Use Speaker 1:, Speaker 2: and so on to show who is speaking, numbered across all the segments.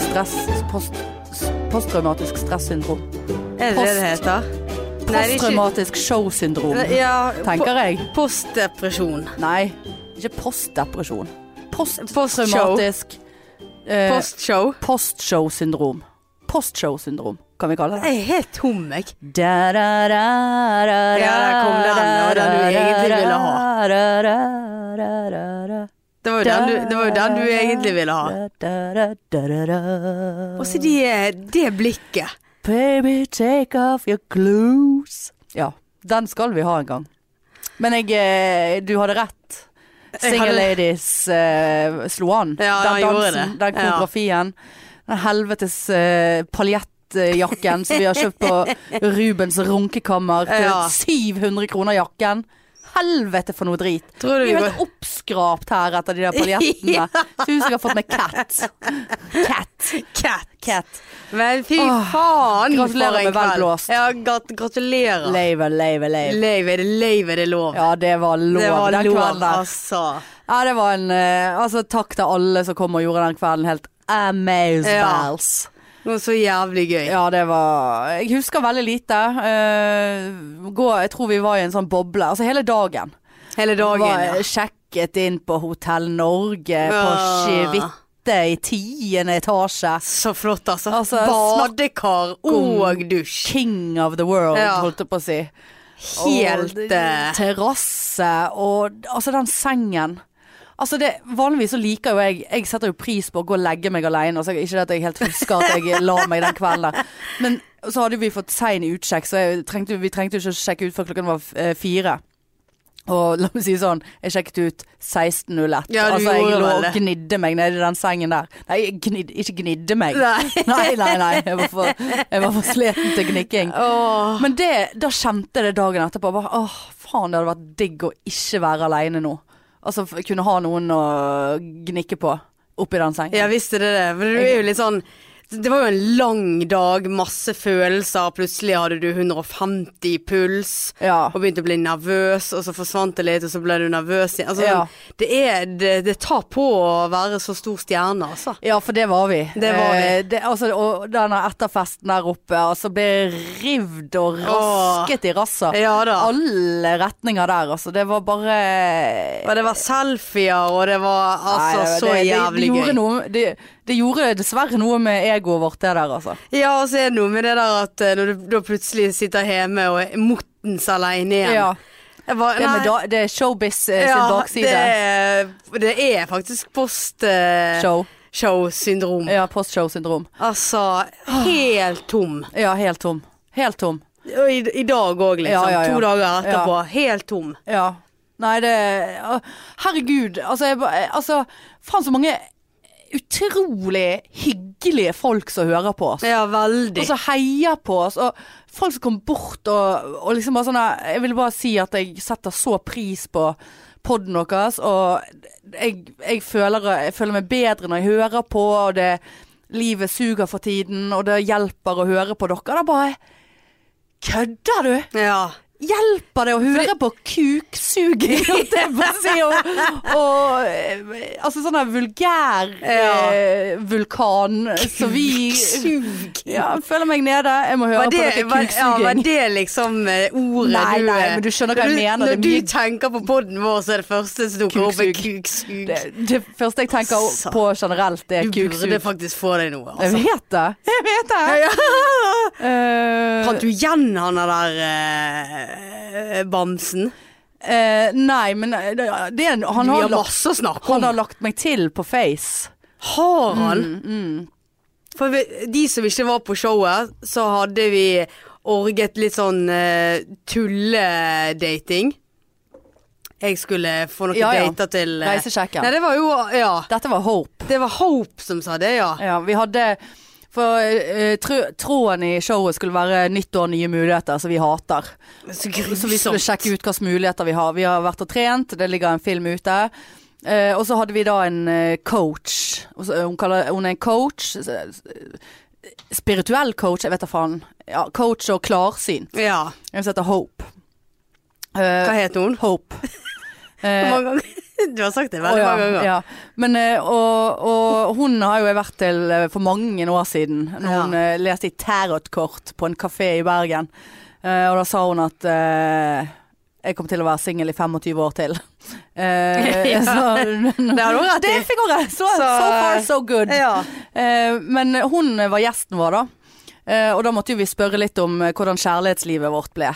Speaker 1: stress post, Posttraumatisk stressyndrom.
Speaker 2: Er det det det heter? Nei, det er ikke-
Speaker 1: Posttraumatisk showsyndrom,
Speaker 2: Ja,
Speaker 1: tenker jeg.
Speaker 2: po- Postdepresjon.
Speaker 1: Nei, ikke postdepresjon.
Speaker 2: Postshow.
Speaker 1: Posttraumatisk eh,
Speaker 2: Postshow.
Speaker 1: Postshow-syndrom. Postshow-syndrom, kan vi kalle det.
Speaker 2: Jeg er helt tom, jeg.
Speaker 1: Da, da, da, da,
Speaker 2: Ja, der kom den, og den du egentlig ville ha.
Speaker 1: Da, da, da, da, da,
Speaker 2: Det var jo den du, det var jo den du egentlig ville ha.
Speaker 1: da, da, da, da, da.
Speaker 2: Og så de, eh, det blikket.
Speaker 1: Baby, take off your clothes. Ja, den skal vi ha en gang. Men jeg eh, Du hadde rett.
Speaker 2: Jeg
Speaker 1: Single
Speaker 2: hadde-
Speaker 1: Ladies eh, slo an.
Speaker 2: Ja, han
Speaker 1: den
Speaker 2: gjorde
Speaker 1: dansen,
Speaker 2: det.
Speaker 1: den
Speaker 2: Ja.
Speaker 1: koreografien. Den helvetes eh, paljettjakken som vi har kjøpt på Rubens runkekammer til
Speaker 2: Ja.
Speaker 1: 700 kroner jakken. Helvete for noe drit.
Speaker 2: Tror du
Speaker 1: Vi
Speaker 2: vi
Speaker 1: er jo
Speaker 2: går
Speaker 1: helt oppskrapt her etter de der paljettene. Ser ut som jeg har fått meg cat. Cat.
Speaker 2: Cat.
Speaker 1: Cat.
Speaker 2: Men fy
Speaker 1: Åh,
Speaker 2: faen.
Speaker 1: gratulerer
Speaker 2: for en
Speaker 1: med vel
Speaker 2: kveld.
Speaker 1: blåst.
Speaker 2: Ja, grat gratulerer.
Speaker 1: Lave, lave, lave.
Speaker 2: Leiv er det leiv er det lov.
Speaker 1: Ja, det var lov
Speaker 2: det var
Speaker 1: den
Speaker 2: lov,
Speaker 1: kvelden der.
Speaker 2: altså.
Speaker 1: Ja, det var en eh, Altså, takk til alle som kom og gjorde den kvelden helt amaze balls.
Speaker 2: Noe så jævlig gøy.
Speaker 1: Ja, det var Jeg husker veldig lite. Eh, gå, jeg tror vi var i en sånn boble. Altså hele dagen.
Speaker 2: Hele dagen.
Speaker 1: var
Speaker 2: Ja.
Speaker 1: sjekket inn på Hotell Norge på
Speaker 2: Ja.
Speaker 1: Skivitte i tiende etasje.
Speaker 2: Så flott, altså.
Speaker 1: Altså, Mm.
Speaker 2: Badekar og
Speaker 1: om-
Speaker 2: dusj.
Speaker 1: King of the world,
Speaker 2: Ja.
Speaker 1: holdt jeg på å si.
Speaker 2: Helt
Speaker 1: Og
Speaker 2: eh,
Speaker 1: Terrasse og altså den sengen. Altså det, Vanligvis så liker jo jeg Jeg setter jo pris på å gå og legge meg alene. Altså ikke det at jeg helt husker at jeg la meg den kvelden der. Men så hadde vi fått sein utsjekk, så jeg trengte, vi trengte jo ikke å sjekke ut før klokken var eh, fire. Og la meg si sånn, jeg sjekket ut 16.01.
Speaker 2: Ja, du
Speaker 1: altså, jeg
Speaker 2: gjorde
Speaker 1: lå
Speaker 2: vel
Speaker 1: og
Speaker 2: det.
Speaker 1: gnidde meg nedi den sengen der. Nei, jeg gnid, ikke gnidde meg.
Speaker 2: Nei.
Speaker 1: nei, nei. nei. Jeg, var for, jeg var for sliten til gnikking.
Speaker 2: Åh.
Speaker 1: Men det, da kjente jeg det dagen etterpå. Bare, åh, faen, det hadde vært digg å ikke være aleine nå. Altså f- kunne ha noen å gnikke på oppi den sengen.
Speaker 2: Ja, visste det det. For du er jo litt sånn det var jo en lang dag, masse følelser. Plutselig hadde du 150 i puls
Speaker 1: Ja.
Speaker 2: og begynte å bli nervøs, og så forsvant det litt, og så ble du nervøs igjen. Altså,
Speaker 1: Ja.
Speaker 2: sånn, det, er, det, det tar på å være så stor stjerne, altså.
Speaker 1: Ja, for det var vi.
Speaker 2: Det var vi.
Speaker 1: Eh, det, altså, og denne etterfesten der oppe, altså ble rivd og
Speaker 2: Åh.
Speaker 1: rasket i rassa.
Speaker 2: Ja da.
Speaker 1: Alle retninger der, altså. Det var bare
Speaker 2: Og det var selfier, og det var altså
Speaker 1: Nei, det-
Speaker 2: så
Speaker 1: det- det-
Speaker 2: jævlig
Speaker 1: det
Speaker 2: gøy.
Speaker 1: gjorde noe- det, det gjorde dessverre noe med egoet vårt, det der, altså.
Speaker 2: Ja, og så er det noe med det der at eh, når du da plutselig sitter hjemme og er mottens aleine igjen.
Speaker 1: Ja.
Speaker 2: Jeg var-
Speaker 1: Det, med
Speaker 2: nei,
Speaker 1: da, det er showbiz eh, sin
Speaker 2: ja,
Speaker 1: bakside.
Speaker 2: det, er- det er faktisk eh, post-show-syndrom.
Speaker 1: Show. Ja, Ah. postshow-syndrom.
Speaker 2: Altså, helt tom.
Speaker 1: Ja, helt tom. Helt tom.
Speaker 2: Og i, i dag òg, liksom.
Speaker 1: Ja, ja, ja.
Speaker 2: To dager etterpå. Helt tom.
Speaker 1: Ja. Nei, det å, Herregud. Altså, jeg, ba- altså faen så mange utrolig hyggelige folk som hører på altså. oss.
Speaker 2: Ja, veldig.
Speaker 1: Og som heier på oss. Og folk som kom bort og, og liksom bare sånn der- Jeg vil bare si at jeg setter så pris på podden deres, og jeg, jeg, føler, jeg føler meg bedre når jeg hører på, og det Livet suger for tiden, og det hjelper å høre på dere. Da bare Kødder du?
Speaker 2: ja.
Speaker 1: Hjelper det å høre på kuksuging, holdt jeg på å si, og, og eh, altså sånn der vulgær
Speaker 2: Ja.
Speaker 1: eh, vulkan som vi
Speaker 2: Sug.
Speaker 1: ja, jeg føler meg nede, jeg må høre
Speaker 2: Var det,
Speaker 1: på
Speaker 2: var,
Speaker 1: dere
Speaker 2: ja, var
Speaker 1: kuksuging.
Speaker 2: det liksom eh, ordet
Speaker 1: Nei,
Speaker 2: du
Speaker 1: nei, men du skjønner hva jeg
Speaker 2: Når du-
Speaker 1: mener, det er
Speaker 2: Når du
Speaker 1: mye-
Speaker 2: tenker på podden vår, så er det første som dukker opp, er
Speaker 1: Kuksug.
Speaker 2: kuksug.
Speaker 1: det, det første jeg tenker
Speaker 2: Altså.
Speaker 1: på generelt, det
Speaker 2: Du
Speaker 1: er kuksug.
Speaker 2: burde faktisk få deg noe,
Speaker 1: Jeg
Speaker 2: altså.
Speaker 1: vet det. Jeg vet det.
Speaker 2: Ja.
Speaker 1: Eh,
Speaker 2: Fant du igjen han der eh, bamsen?
Speaker 1: eh, nei, men eh, det det er, en- han,
Speaker 2: Vi
Speaker 1: har
Speaker 2: har
Speaker 1: lagt,
Speaker 2: masse å snakke
Speaker 1: han
Speaker 2: om.
Speaker 1: har lagt meg til på Face.
Speaker 2: Har han?
Speaker 1: Mm,
Speaker 2: For vi- de som ikke var på showet, så hadde vi orget litt sånn eh, tulledating. Jeg skulle få noen
Speaker 1: Ja, ja.
Speaker 2: dater til eh,
Speaker 1: Reisesjekken.
Speaker 2: Nei, det var jo Ja.
Speaker 1: Dette var Hope.
Speaker 2: Det var Hope som sa det, ja.
Speaker 1: Ja, vi hadde For eh, trø- tråden i showet skulle være 'nytt år, nye muligheter', som vi hater.
Speaker 2: Så
Speaker 1: Så vi skulle sjekke ut hvilke muligheter vi har. Vi har vært og trent, det ligger en film ute. Eh, og så hadde vi da en eh, coach. Og så, eh, Hun, kaller, hun er en coach. s- s- Spirituell coach, jeg vet da faen. Ja, coach og klarsyn.
Speaker 2: Ja.
Speaker 1: Hun heter Hope. Eh,
Speaker 2: Hva het hun?
Speaker 1: Hope. Eh,
Speaker 2: Hvor mange ganger? Du har sagt det veldig
Speaker 1: Å, ja,
Speaker 2: mange ganger.
Speaker 1: Ja. Men, eh, og, og hun har jo jeg vært til eh, for mange år siden, når
Speaker 2: Ja.
Speaker 1: hun eh, leste i tarotkort på en kafé i Bergen. Eh, og da sa hun at eh, jeg kommer til å være singel i 25 år til. Eh,
Speaker 2: Ja.
Speaker 1: så,
Speaker 2: Det har hun rett i.
Speaker 1: det fikk hun rett. Så,
Speaker 2: Så-
Speaker 1: so far, so good.
Speaker 2: Ja.
Speaker 1: Eh, men hun var gjesten vår, da. Eh, og da måtte jo vi spørre litt om eh, hvordan kjærlighetslivet vårt ble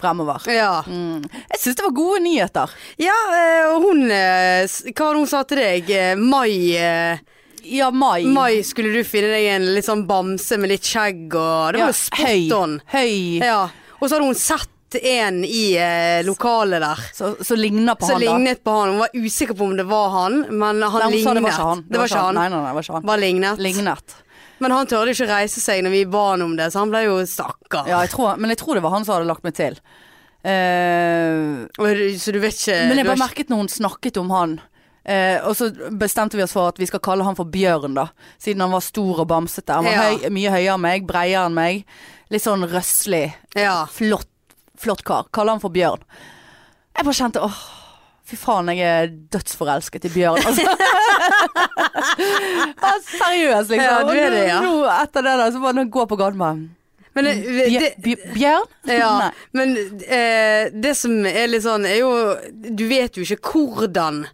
Speaker 1: fremover.
Speaker 2: Ja.
Speaker 1: Mm. Jeg syns det var gode nyheter.
Speaker 2: ja eh, og hun eh, s- Hva var det hun sa til deg? Eh, Mai eh,
Speaker 1: Ja, mai.
Speaker 2: Mai skulle du finne deg en litt sånn bamse med litt skjegg og Det var
Speaker 1: Ja,
Speaker 2: jo spot on.
Speaker 1: Høy.
Speaker 2: Ja. Og så hadde hun sett en i eh, lokalet der.
Speaker 1: Så, så ligner på
Speaker 2: Som
Speaker 1: han, da.
Speaker 2: lignet på han. Hun var usikker på om det var han, men han
Speaker 1: Nei, hun sa
Speaker 2: lignet.
Speaker 1: det var ikke han.
Speaker 2: Det var ikke han.
Speaker 1: Nei, nei, nei, det var ikke han.
Speaker 2: Bare lignet.
Speaker 1: Lignet.
Speaker 2: Men han tørde ikke reise seg når vi ba han om det, så han ble jo stakkar.
Speaker 1: Ja, jeg tror, men jeg tror det var han som hadde lagt meg til. Eh,
Speaker 2: Og du- Så du vet ikke
Speaker 1: men jeg
Speaker 2: du
Speaker 1: bare
Speaker 2: har ikke-
Speaker 1: merket når hun snakket om han. Eh, og så bestemte vi oss for at vi skal kalle han for Bjørn, da. Siden han var stor og bamsete. Han var
Speaker 2: Ja.
Speaker 1: høy, mye høyere enn meg, breiere enn meg. Litt sånn røslig.
Speaker 2: Ja.
Speaker 1: Flott, flott kar. Kaller han for Bjørn. Jeg bare kjente åh, fy faen, jeg er dødsforelsket i Bjørn. Altså. ja, seriøst, liksom.
Speaker 2: Ja, du er det, ja.
Speaker 1: Og nå, nå, etter det der, så bare nå går jeg på gaten med
Speaker 2: Men, det,
Speaker 1: Bjør,
Speaker 2: det,
Speaker 1: Bjørn?
Speaker 2: ja,
Speaker 1: Nei.
Speaker 2: men eh, det som er litt sånn, er jo Du vet jo ikke hvordan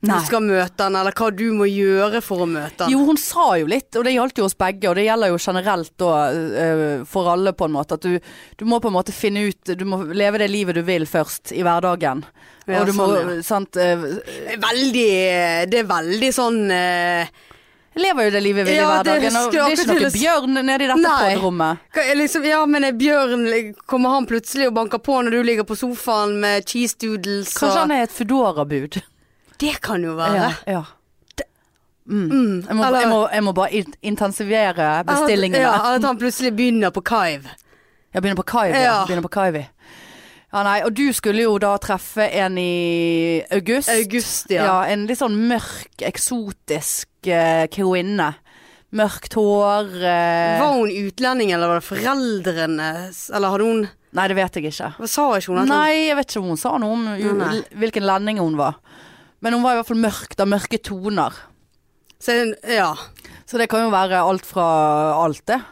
Speaker 1: Nei.
Speaker 2: du skal møte han, eller hva du må gjøre for å møte han.
Speaker 1: Jo, hun sa jo litt, og det gjaldt jo oss begge, og det gjelder jo generelt da eh, for alle på en måte, at du, du må på en måte finne ut, du må leve det livet du vil først i hverdagen.
Speaker 2: Ja,
Speaker 1: og du må,
Speaker 2: sånn,
Speaker 1: sant, eh,
Speaker 2: Veldig Det er veldig sånn eh,
Speaker 1: lever jo det livet vi vil i
Speaker 2: Ja, det
Speaker 1: hverdagen, og
Speaker 2: skulle
Speaker 1: det er
Speaker 2: jeg
Speaker 1: ikke
Speaker 2: akkurat
Speaker 1: noe
Speaker 2: til å s-
Speaker 1: bjørn nede i dette
Speaker 2: Nei.
Speaker 1: podrommet.
Speaker 2: hva er liksom, Ja, men er Bjørn Kommer han plutselig og banker på når du ligger på sofaen med cheese doodles
Speaker 1: Kanskje han
Speaker 2: og
Speaker 1: er et Foodora-bud.
Speaker 2: Det kan jo være.
Speaker 1: Ja, ja. Mm. Jeg, må,
Speaker 2: Eller-
Speaker 1: jeg, må, jeg må bare in- intensivere bestillingene.
Speaker 2: Ja, at han plutselig begynner på Kaiv.
Speaker 1: Jeg begynner på Kaivi. Ja.
Speaker 2: Ja.
Speaker 1: Begynner på Kaivi. Ja, nei, og du skulle jo da treffe en i august.
Speaker 2: August,
Speaker 1: ja.
Speaker 2: ja.
Speaker 1: En litt sånn mørk, eksotisk eh, kvinne. Mørkt hår eh.
Speaker 2: Var hun utlending, eller var det foreldrene Eller hadde hun
Speaker 1: Nei, det vet jeg ikke.
Speaker 2: Hva sa ikke hun? at hun-
Speaker 1: Nei, jeg vet ikke om hun sa noe om jo,
Speaker 2: Nei, nei.
Speaker 1: l- hvilken landing hun var. Men hun var i hvert fall mørk, da. Mørke toner.
Speaker 2: Så, er hun- ja.
Speaker 1: Så det kan jo være alt fra alt, det.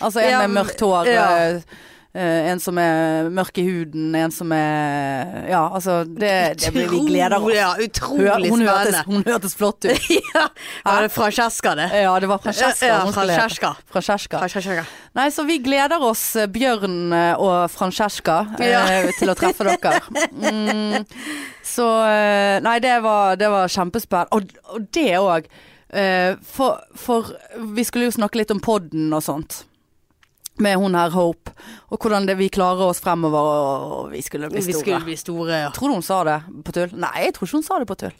Speaker 1: Altså en
Speaker 2: Ja,
Speaker 1: med mørkt hår,
Speaker 2: ja.
Speaker 1: eh, eh, en som er mørk i huden, en som er Ja, altså det, det blir vi gleder
Speaker 2: Utrolig-
Speaker 1: oss.
Speaker 2: Ja,
Speaker 1: Hør,
Speaker 2: utrolig
Speaker 1: hun, hørtes,
Speaker 2: spennende.
Speaker 1: hun hørtes flott ut.
Speaker 2: ja. Var det Francesca, det?
Speaker 1: Ja, det var Francesca.
Speaker 2: Ja,
Speaker 1: hun skulle hete.
Speaker 2: Francesca.
Speaker 1: Francesca.
Speaker 2: Francesca.
Speaker 1: Nei, så vi gleder oss, eh, Bjørn eh, og Francesca, eh,
Speaker 2: Ja.
Speaker 1: til å treffe dere. Mm, så eh, Nei, det var, det var kjempespennende. Og, og det òg. For, for vi skulle jo snakke litt om podden og sånt. Med hun her Hope. Og hvordan det, vi klarer oss fremover, og, og vi skulle bli
Speaker 2: Vi
Speaker 1: store.
Speaker 2: skulle bli store, ja.
Speaker 1: Tror du hun sa det på tull? Nei, jeg tror ikke hun sa det på tull.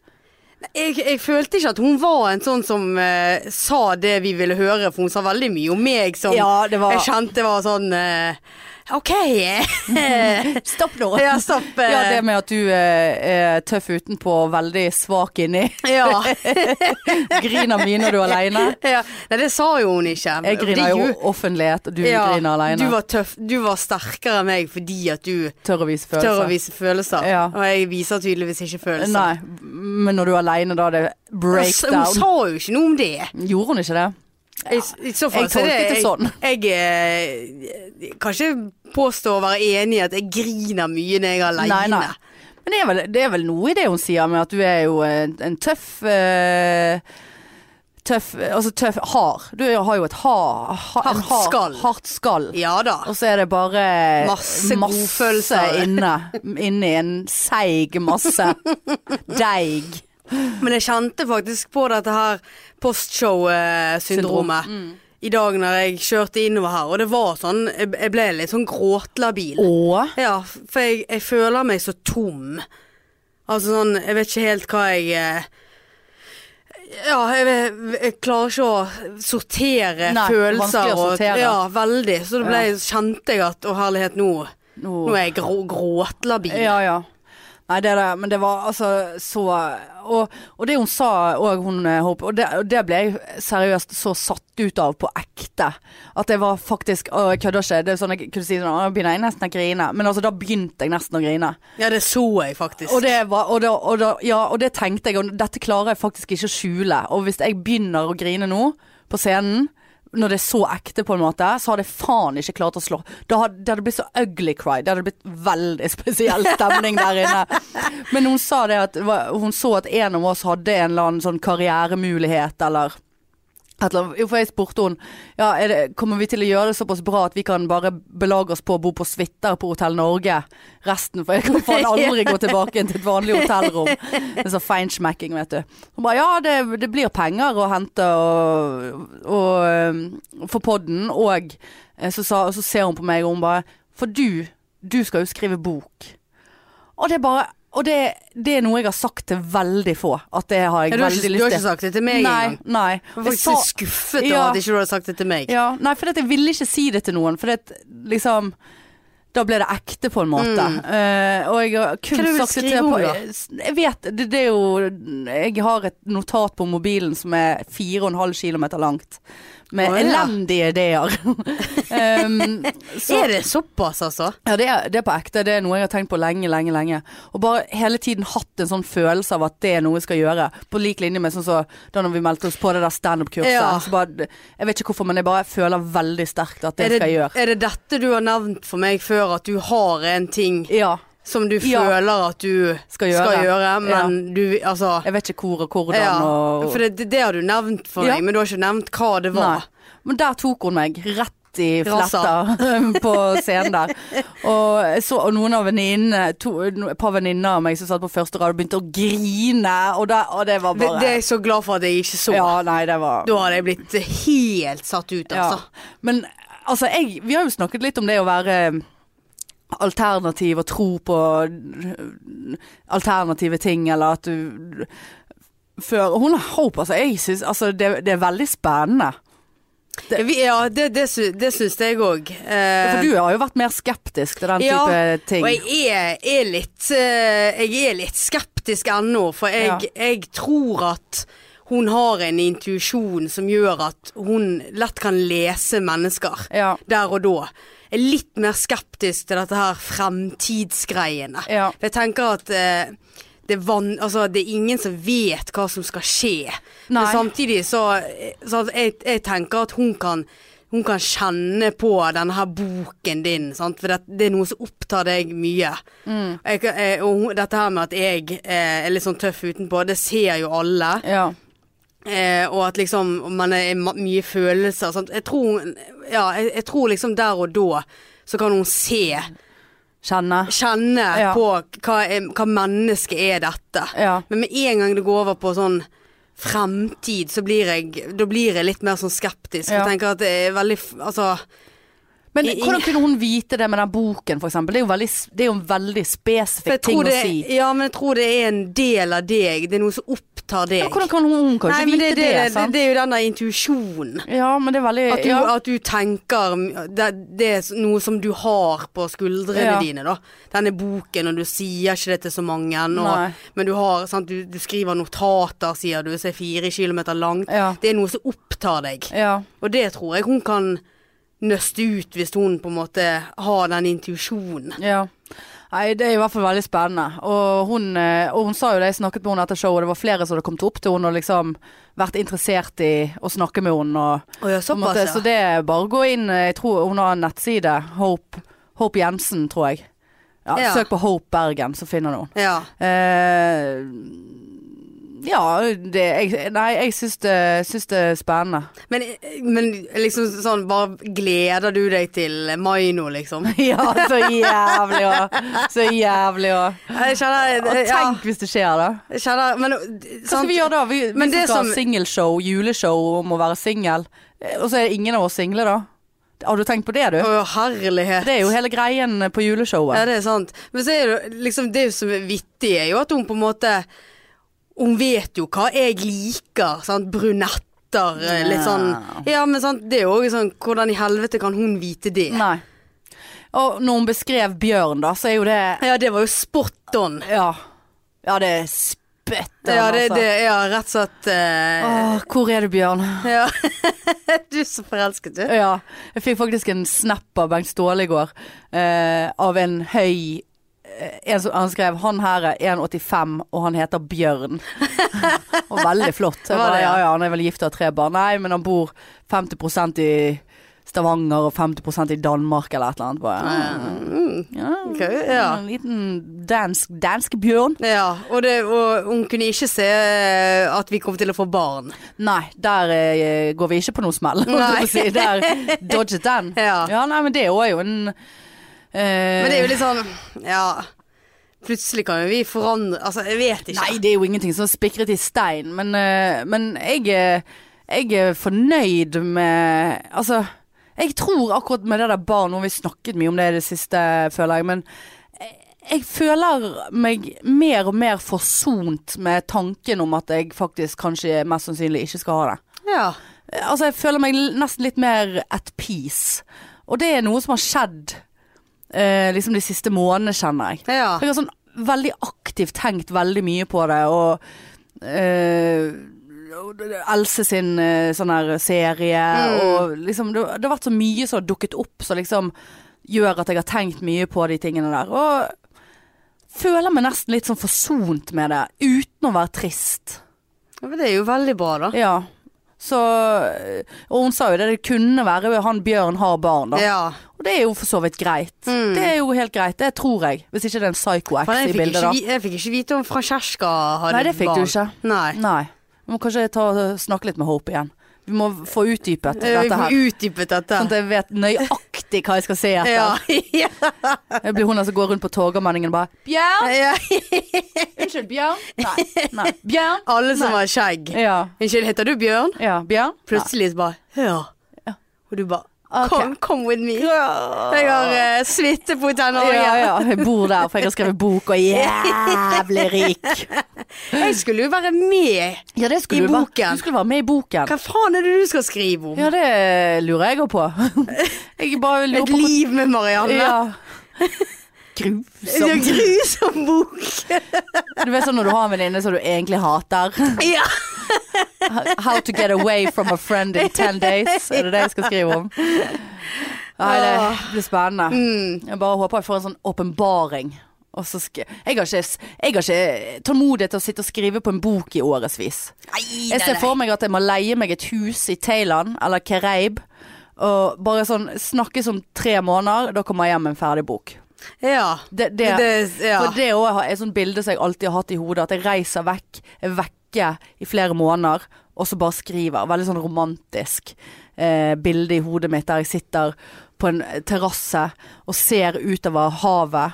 Speaker 2: Jeg, jeg følte ikke at hun var en sånn som eh, sa det vi ville høre, for hun sa veldig mye om meg som
Speaker 1: det
Speaker 2: jeg kjente var sånn eh, OK.
Speaker 1: Stopp nå!
Speaker 2: ja, stopp. eh,
Speaker 1: Ja, det med at du eh, er tøff utenpå og veldig svak inni.
Speaker 2: eh, ja.
Speaker 1: Griner mye når du er aleine.
Speaker 2: ja. Nei, det sa jo hun ikke.
Speaker 1: Jeg griner
Speaker 2: Det
Speaker 1: jo
Speaker 2: gjorde-
Speaker 1: offentlighet, og du
Speaker 2: ja,
Speaker 1: griner
Speaker 2: Du
Speaker 1: aleine.
Speaker 2: var tøff. Du var sterkere enn meg fordi at du
Speaker 1: Tør å vise følelser.
Speaker 2: tør å vise følelser.
Speaker 1: Ja.
Speaker 2: Og jeg viser tydeligvis ikke følelser.
Speaker 1: Nei, men når du er aleine, da er det
Speaker 2: Hun
Speaker 1: breakdown.
Speaker 2: sa jo ikke noe om det.
Speaker 1: Gjorde hun ikke det?
Speaker 2: I, i så fall
Speaker 1: Jeg
Speaker 2: så er
Speaker 1: tolket det sånn.
Speaker 2: Jeg, jeg eh, kan ikke påstå å være enig i at jeg griner mye når jeg er aleine.
Speaker 1: Nei, nei. Men det er, vel, det er vel noe i det hun sier med at du er jo en, en tøff eh, Tøff, altså tøff hard. Du har jo et ha, ha, en
Speaker 2: Hardt
Speaker 1: hard-
Speaker 2: skall.
Speaker 1: Hardt skall.
Speaker 2: Ja da.
Speaker 1: Og så er det bare
Speaker 2: Masse godfølelser.
Speaker 1: inne. Inni en seig masse. Deig.
Speaker 2: Men jeg kjente faktisk på dette her postshow-syndromet.
Speaker 1: Mm.
Speaker 2: I dag når jeg kjørte innover her, og det var sånn Jeg jeg ble litt sånn gråtlabil.
Speaker 1: Og
Speaker 2: Ja, for jeg, jeg føler meg så tom. Altså sånn Jeg vet ikke helt hva jeg eh, Ja, jeg, vet- jeg klarer ikke å sortere
Speaker 1: Nei,
Speaker 2: følelser.
Speaker 1: vanskelig å
Speaker 2: og-
Speaker 1: sortere.
Speaker 2: Ja, veldig. Så da ble, kjente jeg at Å herlighet, nå,
Speaker 1: nå
Speaker 2: nå er jeg grå, gråtlabil.
Speaker 1: Ja, ja. Nei, det er det, men det var altså så Og, og det hun sa òg, hun eh, Hope, og det, og det ble jeg seriøst så satt ut av på ekte. At jeg var faktisk Å, jeg kødder ikke. Det er sånn jeg kunne si sånn Å, jeg begynner jeg nesten å grine. Men altså, da begynte jeg nesten å grine.
Speaker 2: Ja, det så jeg faktisk.
Speaker 1: Og det, var, og, da, og, da, ja, og det tenkte jeg, og dette klarer jeg faktisk ikke å skjule. Og hvis jeg begynner å grine nå, på scenen, når det er så ekte, på en måte, så hadde jeg faen ikke klart å slå. Da hadde, det hadde blitt så ugly cry. Det hadde blitt veldig spesiell stemning der inne. Men hun sa det at det var- hun så at en av oss hadde en eller annen sånn karrieremulighet, eller et eller annet. Jo, For jeg spurte hun ja, er det, kommer vi til å gjøre det såpass bra at vi kan bare belage oss på å bo på suiter på Hotell Norge resten, for jeg kan faen aldri gå tilbake igjen til et vanlig hotellrom. Det er sånn feinschmacking, vet du. Hun bare ja, det, det blir penger å hente og, og, eh, for podden, og eh, så, sa, så ser hun på meg og hun bare For du, du skal jo skrive bok. Og det er bare Og det, det er noe jeg har sagt til veldig få, at det har jeg
Speaker 2: ja, du, har
Speaker 1: veldig
Speaker 2: ikke, du
Speaker 1: lyst
Speaker 2: har
Speaker 1: til.
Speaker 2: ikke sagt det til meg
Speaker 1: Nei,
Speaker 2: engang.
Speaker 1: nei.
Speaker 2: Jeg var faktisk litt skuffet over
Speaker 1: Ja.
Speaker 2: at ikke du hadde sagt det til meg.
Speaker 1: Ja, nei, for at jeg ville ikke si det til noen, for at liksom da ble det ekte, på en måte. Eh, og jeg har
Speaker 2: Mm. Hva er
Speaker 1: kun
Speaker 2: det du vil
Speaker 1: sagt det
Speaker 2: skrive
Speaker 1: til
Speaker 2: om,
Speaker 1: på,
Speaker 2: da?
Speaker 1: Jeg vet det, det er jo Jeg har et notat på mobilen som er 4,5 km langt. Med
Speaker 2: Å, ja.
Speaker 1: elendige ideer. um, så-
Speaker 2: Er det såpass, altså?
Speaker 1: ja, det er, det er på ekte. Det er noe jeg har tenkt på lenge, lenge, lenge. Og bare hele tiden hatt en sånn følelse av at det er noe jeg skal gjøre. På lik linje med sånn som da når vi meldte oss på det der standup-kurset.
Speaker 2: Ja.
Speaker 1: Så bare- Jeg vet ikke hvorfor, men jeg bare føler veldig sterkt at det,
Speaker 2: Er det,
Speaker 1: skal jeg gjøre.
Speaker 2: er det dette du har nevnt for meg før, at du har en ting
Speaker 1: Ja.
Speaker 2: som du
Speaker 1: Ja.
Speaker 2: føler at du
Speaker 1: Skal gjøre.
Speaker 2: men du altså
Speaker 1: Jeg vet ikke hvor og hvordan
Speaker 2: ja,
Speaker 1: og
Speaker 2: For det, det har du nevnt for
Speaker 1: Ja.
Speaker 2: meg, men du har ikke nevnt hva det var.
Speaker 1: Nei. Men der tok hun meg rett i
Speaker 2: Rassa.
Speaker 1: fletta på scenen der. Og, jeg så, og noen av venninnene, to- no- et par venninner av meg som satt på første rad, begynte å grine. Og, da- og det var
Speaker 2: Det,
Speaker 1: bare
Speaker 2: det er jeg så glad for at jeg ikke så.
Speaker 1: Ja, nei, det var
Speaker 2: Da hadde jeg blitt helt satt ut,
Speaker 1: Ja.
Speaker 2: altså.
Speaker 1: Men altså, jeg, vi har jo snakket litt om det å være eh, alternativ og tro på øh, alternative ting, eller at du før, Hun har håp, altså. Jeg synes, altså det, det er veldig spennende.
Speaker 2: Ja, vi, ja det, det, sy- det syns jeg òg.
Speaker 1: For Altså, du har jo vært mer skeptisk til den
Speaker 2: Eh. Ja,
Speaker 1: type ting.
Speaker 2: Og jeg er, er litt eh, Jeg er litt skeptisk ennå, for jeg,
Speaker 1: Ja.
Speaker 2: jeg tror at hun har en intuisjon som gjør at hun lett kan lese mennesker
Speaker 1: Ja.
Speaker 2: der og da. Jeg er litt mer skeptisk til dette her fremtidsgreiene.
Speaker 1: Ja.
Speaker 2: For jeg tenker at eh, det, er van, altså, det er ingen som vet hva som skal skje. Men
Speaker 1: Nei.
Speaker 2: samtidig så, eh, så at jeg, jeg tenker at hun kan, hun kan kjenne på denne her boken din, sant? for det, det er noe som opptar deg mye. Jeg, kan- eh, og hun- dette her med at jeg eh, er litt sånn tøff utenpå, det ser jo alle.
Speaker 1: Ja.
Speaker 2: Eh, og at liksom og man er ma- mye følelser. Sant? Jeg, tror, hun- ja, jeg, jeg tror liksom der og da så kan hun se,
Speaker 1: Kjenne.
Speaker 2: kjenne
Speaker 1: Ja.
Speaker 2: på hva, er- hva mennesket er dette.
Speaker 1: Ja.
Speaker 2: Men med en gang det går over på sånn fremtid, så blir jeg, da blir jeg litt mer sånn skeptisk.
Speaker 1: Ja.
Speaker 2: Jeg tenker at det er veldig f- Altså,
Speaker 1: Men
Speaker 2: I- i-
Speaker 1: hvordan kunne hun vite det med den boken, for eksempel? Det er jo veldig, det er jo en veldig
Speaker 2: for jeg
Speaker 1: spesifikk ting
Speaker 2: tror
Speaker 1: å
Speaker 2: det,
Speaker 1: si.
Speaker 2: ja, men jeg tror det er en del av deg. Det er noe som opptar deg.
Speaker 1: Ja, hvordan kan hun, hun kan
Speaker 2: Nei,
Speaker 1: ikke
Speaker 2: men
Speaker 1: vite
Speaker 2: det,
Speaker 1: det,
Speaker 2: er det, det,
Speaker 1: sant?
Speaker 2: det er jo den der intuisjonen.
Speaker 1: ja, men det er veldig
Speaker 2: At
Speaker 1: Eh,
Speaker 2: du,
Speaker 1: ja.
Speaker 2: at du tenker det, det er noe som du har på skuldrene
Speaker 1: Ja.
Speaker 2: dine, da. Denne boken, og du sier ikke det til så mange.
Speaker 1: Nei.
Speaker 2: Og, men du, har, sant, du, du skriver notater, sier du, som er fire kilometer langt.
Speaker 1: Ja.
Speaker 2: Det er noe som opptar deg.
Speaker 1: ja.
Speaker 2: Og det tror jeg hun kan nøste ut, hvis hun på en måte har den intuisjonen.
Speaker 1: Ja. Nei, det er i hvert fall veldig spennende. Og hun, eh, og hun sa jo det, jeg snakket med henne etter showet, det var flere som hadde kommet opp til henne og liksom vært interessert i å snakke med henne. Og,
Speaker 2: Å ja,
Speaker 1: på en måte,
Speaker 2: såpass,
Speaker 1: Så
Speaker 2: ja.
Speaker 1: det er bare å gå inn, eh, jeg tror hun har en nettside, Hope, Hope Jensen, tror jeg. Ja,
Speaker 2: Ja.
Speaker 1: Søk på Hope Bergen, så finner du henne.
Speaker 2: ja.
Speaker 1: Eh, ja, det, jeg, nei, jeg syns det, syns det er spennende.
Speaker 2: Men, men liksom sånn, bare gleder du deg til mai nå, liksom?
Speaker 1: ja, så jævlig òg. Så jævlig òg.
Speaker 2: Jeg kjenner,
Speaker 1: Og
Speaker 2: ja,
Speaker 1: tenk hvis det skjer, da.
Speaker 2: jeg kjenner men,
Speaker 1: Hva skal vi gjøre da? Vi, vi
Speaker 2: Men det
Speaker 1: som skal
Speaker 2: som-
Speaker 1: ha singelshow, juleshow om å være singel. Eh, Og så er ingen av oss single, da. Har du tenkt på det, du?
Speaker 2: Å, herlighet.
Speaker 1: Det er jo hele greien på
Speaker 2: Ja,
Speaker 1: juleshowet.
Speaker 2: det er sant. Men så er det, jo- liksom, det som er vittig, er jo at hun på en måte Hun vet jo hva jeg liker. Sant? Brunetter, eh, litt sånn Ja, men sant, det er jo også sånn Hvordan i helvete kan hun vite det?
Speaker 1: Nei. Og når hun beskrev Bjørn, da, så er jo det
Speaker 2: Ja, det var jo spot on.
Speaker 1: Ja. Ja, det er spøtten,
Speaker 2: Ja, det,
Speaker 1: altså.
Speaker 2: det, ja rett og slett eh,
Speaker 1: Åh, hvor er du, Bjørn?
Speaker 2: ja. Du er så forelsket, du.
Speaker 1: Ja. Jeg fikk faktisk en snap av Bengt Ståle i går, eh, av en høy eh, en som, Han skrev 'Han her er 1,85, og han heter Bjørn'. og veldig flott. Jeg
Speaker 2: Var
Speaker 1: bare,
Speaker 2: det,
Speaker 1: ja,
Speaker 2: ja?
Speaker 1: ja, han er vel gift og har tre barn. Nei, men han bor 50 i Stavanger og 50 i Danmark eller et eller annet. Bare,
Speaker 2: Mm.
Speaker 1: ja,
Speaker 2: Ok, ja.
Speaker 1: En liten dansk, dansk bjørn.
Speaker 2: Ja, og, det, og hun kunne ikke se eh, at vi kom til å få barn.
Speaker 1: Nei, der eh, går vi ikke på noe smell. holdt jeg på å Si. Der dodget den.
Speaker 2: Ja.
Speaker 1: Ja, nei, men det er jo en eh,
Speaker 2: Men det er jo litt sånn Ja. Plutselig kan jo vi forandre Altså, jeg vet ikke.
Speaker 1: Nei, det er jo ingenting som er spikret i stein, men, eh, men jeg, er- jeg er fornøyd med Altså, jeg tror akkurat med det der barn, og vi snakket mye om det i det siste, føler jeg, men jeg- jeg føler meg mer og mer forsont med tanken om at jeg faktisk kanskje mest sannsynlig ikke skal ha det.
Speaker 2: Ja.
Speaker 1: Altså, jeg føler meg l- nesten litt mer at peace. Og det er noe som har skjedd eh, liksom de siste månedene, kjenner jeg.
Speaker 2: ja.
Speaker 1: Jeg har sånn veldig aktivt tenkt veldig mye på det, og eh, Else sin eh, sånn her serie,
Speaker 2: Mm.
Speaker 1: og liksom det, det har vært så mye som har dukket opp som liksom gjør at jeg har tenkt mye på de tingene der. Og føler meg nesten litt sånn forsont med det, uten å være trist.
Speaker 2: Men det er jo veldig bra, da.
Speaker 1: Ja. Så eh, Og hun sa jo det, det kunne være han Bjørn har barn, da.
Speaker 2: Ja.
Speaker 1: Og det er jo for så vidt greit.
Speaker 2: Mm.
Speaker 1: Det er jo helt greit, det tror jeg. Hvis ikke det er en
Speaker 2: For
Speaker 1: psycho-ex
Speaker 2: jeg
Speaker 1: i
Speaker 2: fikk,
Speaker 1: bildet, da.
Speaker 2: ikke, vi- jeg fikk ikke vite om Francesca hadde
Speaker 1: Nei, det fikk
Speaker 2: barn.
Speaker 1: du ikke. Mm.
Speaker 2: Nei.
Speaker 1: Nei. Vi må kanskje ta, snakke litt med Hope igjen. Vi må få utdypet
Speaker 2: Vi
Speaker 1: dette
Speaker 2: får
Speaker 1: her.
Speaker 2: utdypet dette.
Speaker 1: Sånn at jeg vet nøyaktig hva jeg skal se etter.
Speaker 2: ja. ja.
Speaker 1: Jeg blir hun der som går rundt på Torgallmenningen og bare Bjørn!
Speaker 2: ja.
Speaker 1: Unnskyld, Bjørn? Nei. Nei. Bjørn?
Speaker 2: Alle som
Speaker 1: Nei.
Speaker 2: har skjegg.
Speaker 1: Ja.
Speaker 2: Unnskyld, heter du Bjørn?
Speaker 1: ja. Bjørn?
Speaker 2: Plutselig bare Ja.
Speaker 1: Ja.
Speaker 2: Og du bare
Speaker 1: Ok.
Speaker 2: Come, come with me.
Speaker 1: Ja.
Speaker 2: Jeg har eh, suite på Hotell
Speaker 1: Ja,
Speaker 2: Norge.
Speaker 1: ja. Jeg bor der, for jeg har skrevet bok og er jævlig rik.
Speaker 2: Jeg skulle jo være med.
Speaker 1: Ja, det
Speaker 2: skulle du være.
Speaker 1: Du skulle være med i boken.
Speaker 2: Hva faen er det du skal skrive om?
Speaker 1: Ja, det lurer jeg òg på. Jeg bare lurer
Speaker 2: Et
Speaker 1: på
Speaker 2: liv med Marianne.
Speaker 1: Ja.
Speaker 2: Det er en
Speaker 1: Grusomt.
Speaker 2: grusom bok.
Speaker 1: Du vet sånn når du har en venninne som du egentlig hater.
Speaker 2: Ja.
Speaker 1: How to get away from a friend in ten days. Er det det jeg skal skrive om? Nei, det blir spennende.
Speaker 2: Mm.
Speaker 1: Jeg bare håper jeg får en sånn åpenbaring. Og så sk- Jeg har ikke, jeg har ikke tålmodighet til å sitte og skrive på en bok i årevis. Jeg ser for meg at jeg må leie meg et hus i Thailand eller Kereib. Og bare sånn snakkes om tre måneder, da kommer jeg hjem med en ferdig bok.
Speaker 2: Ja.
Speaker 1: Det, det,
Speaker 2: Det- ja.
Speaker 1: For det òg er et sånt bilde som jeg alltid har hatt i hodet. At jeg reiser vekk, er vekke i flere måneder, og så bare skriver. Veldig sånn romantisk eh, bilde i hodet mitt der jeg sitter på en terrasse og ser utover havet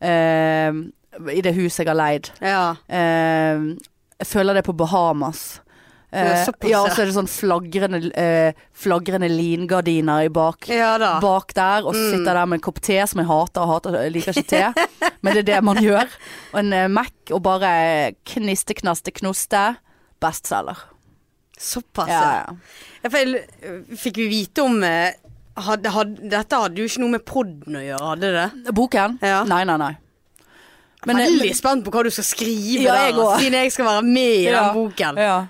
Speaker 1: eh, i det huset jeg har leid.
Speaker 2: ja.
Speaker 1: Eh, jeg føler det på Bahamas.
Speaker 2: Ja,
Speaker 1: Eh, ja,
Speaker 2: såpass, ja.
Speaker 1: og så er det sånn flagrende, eh, flagrende lingardiner i bak
Speaker 2: Ja Mm. da.
Speaker 1: bak der, og så sitter jeg der med en kopp te som jeg hater og hater, jeg liker ikke te, men det er det man gjør. Og en eh, Mac og bare kniste, knaste, knoste. Bestselger.
Speaker 2: Såpass,
Speaker 1: Ja,
Speaker 2: ja.
Speaker 1: ja.
Speaker 2: Ja, for jeg l- Fikk vi vite om eh, hadde, hadde, Dette hadde jo ikke noe med podden å gjøre, hadde det?
Speaker 1: Boken?
Speaker 2: Ja.
Speaker 1: Nei, nei, nei. Men, eh,
Speaker 2: Veldig spent på hva du skal skrive
Speaker 1: Ja, jeg
Speaker 2: der,
Speaker 1: også.
Speaker 2: siden jeg skal være med i
Speaker 1: Ja.
Speaker 2: den boken.
Speaker 1: Ja.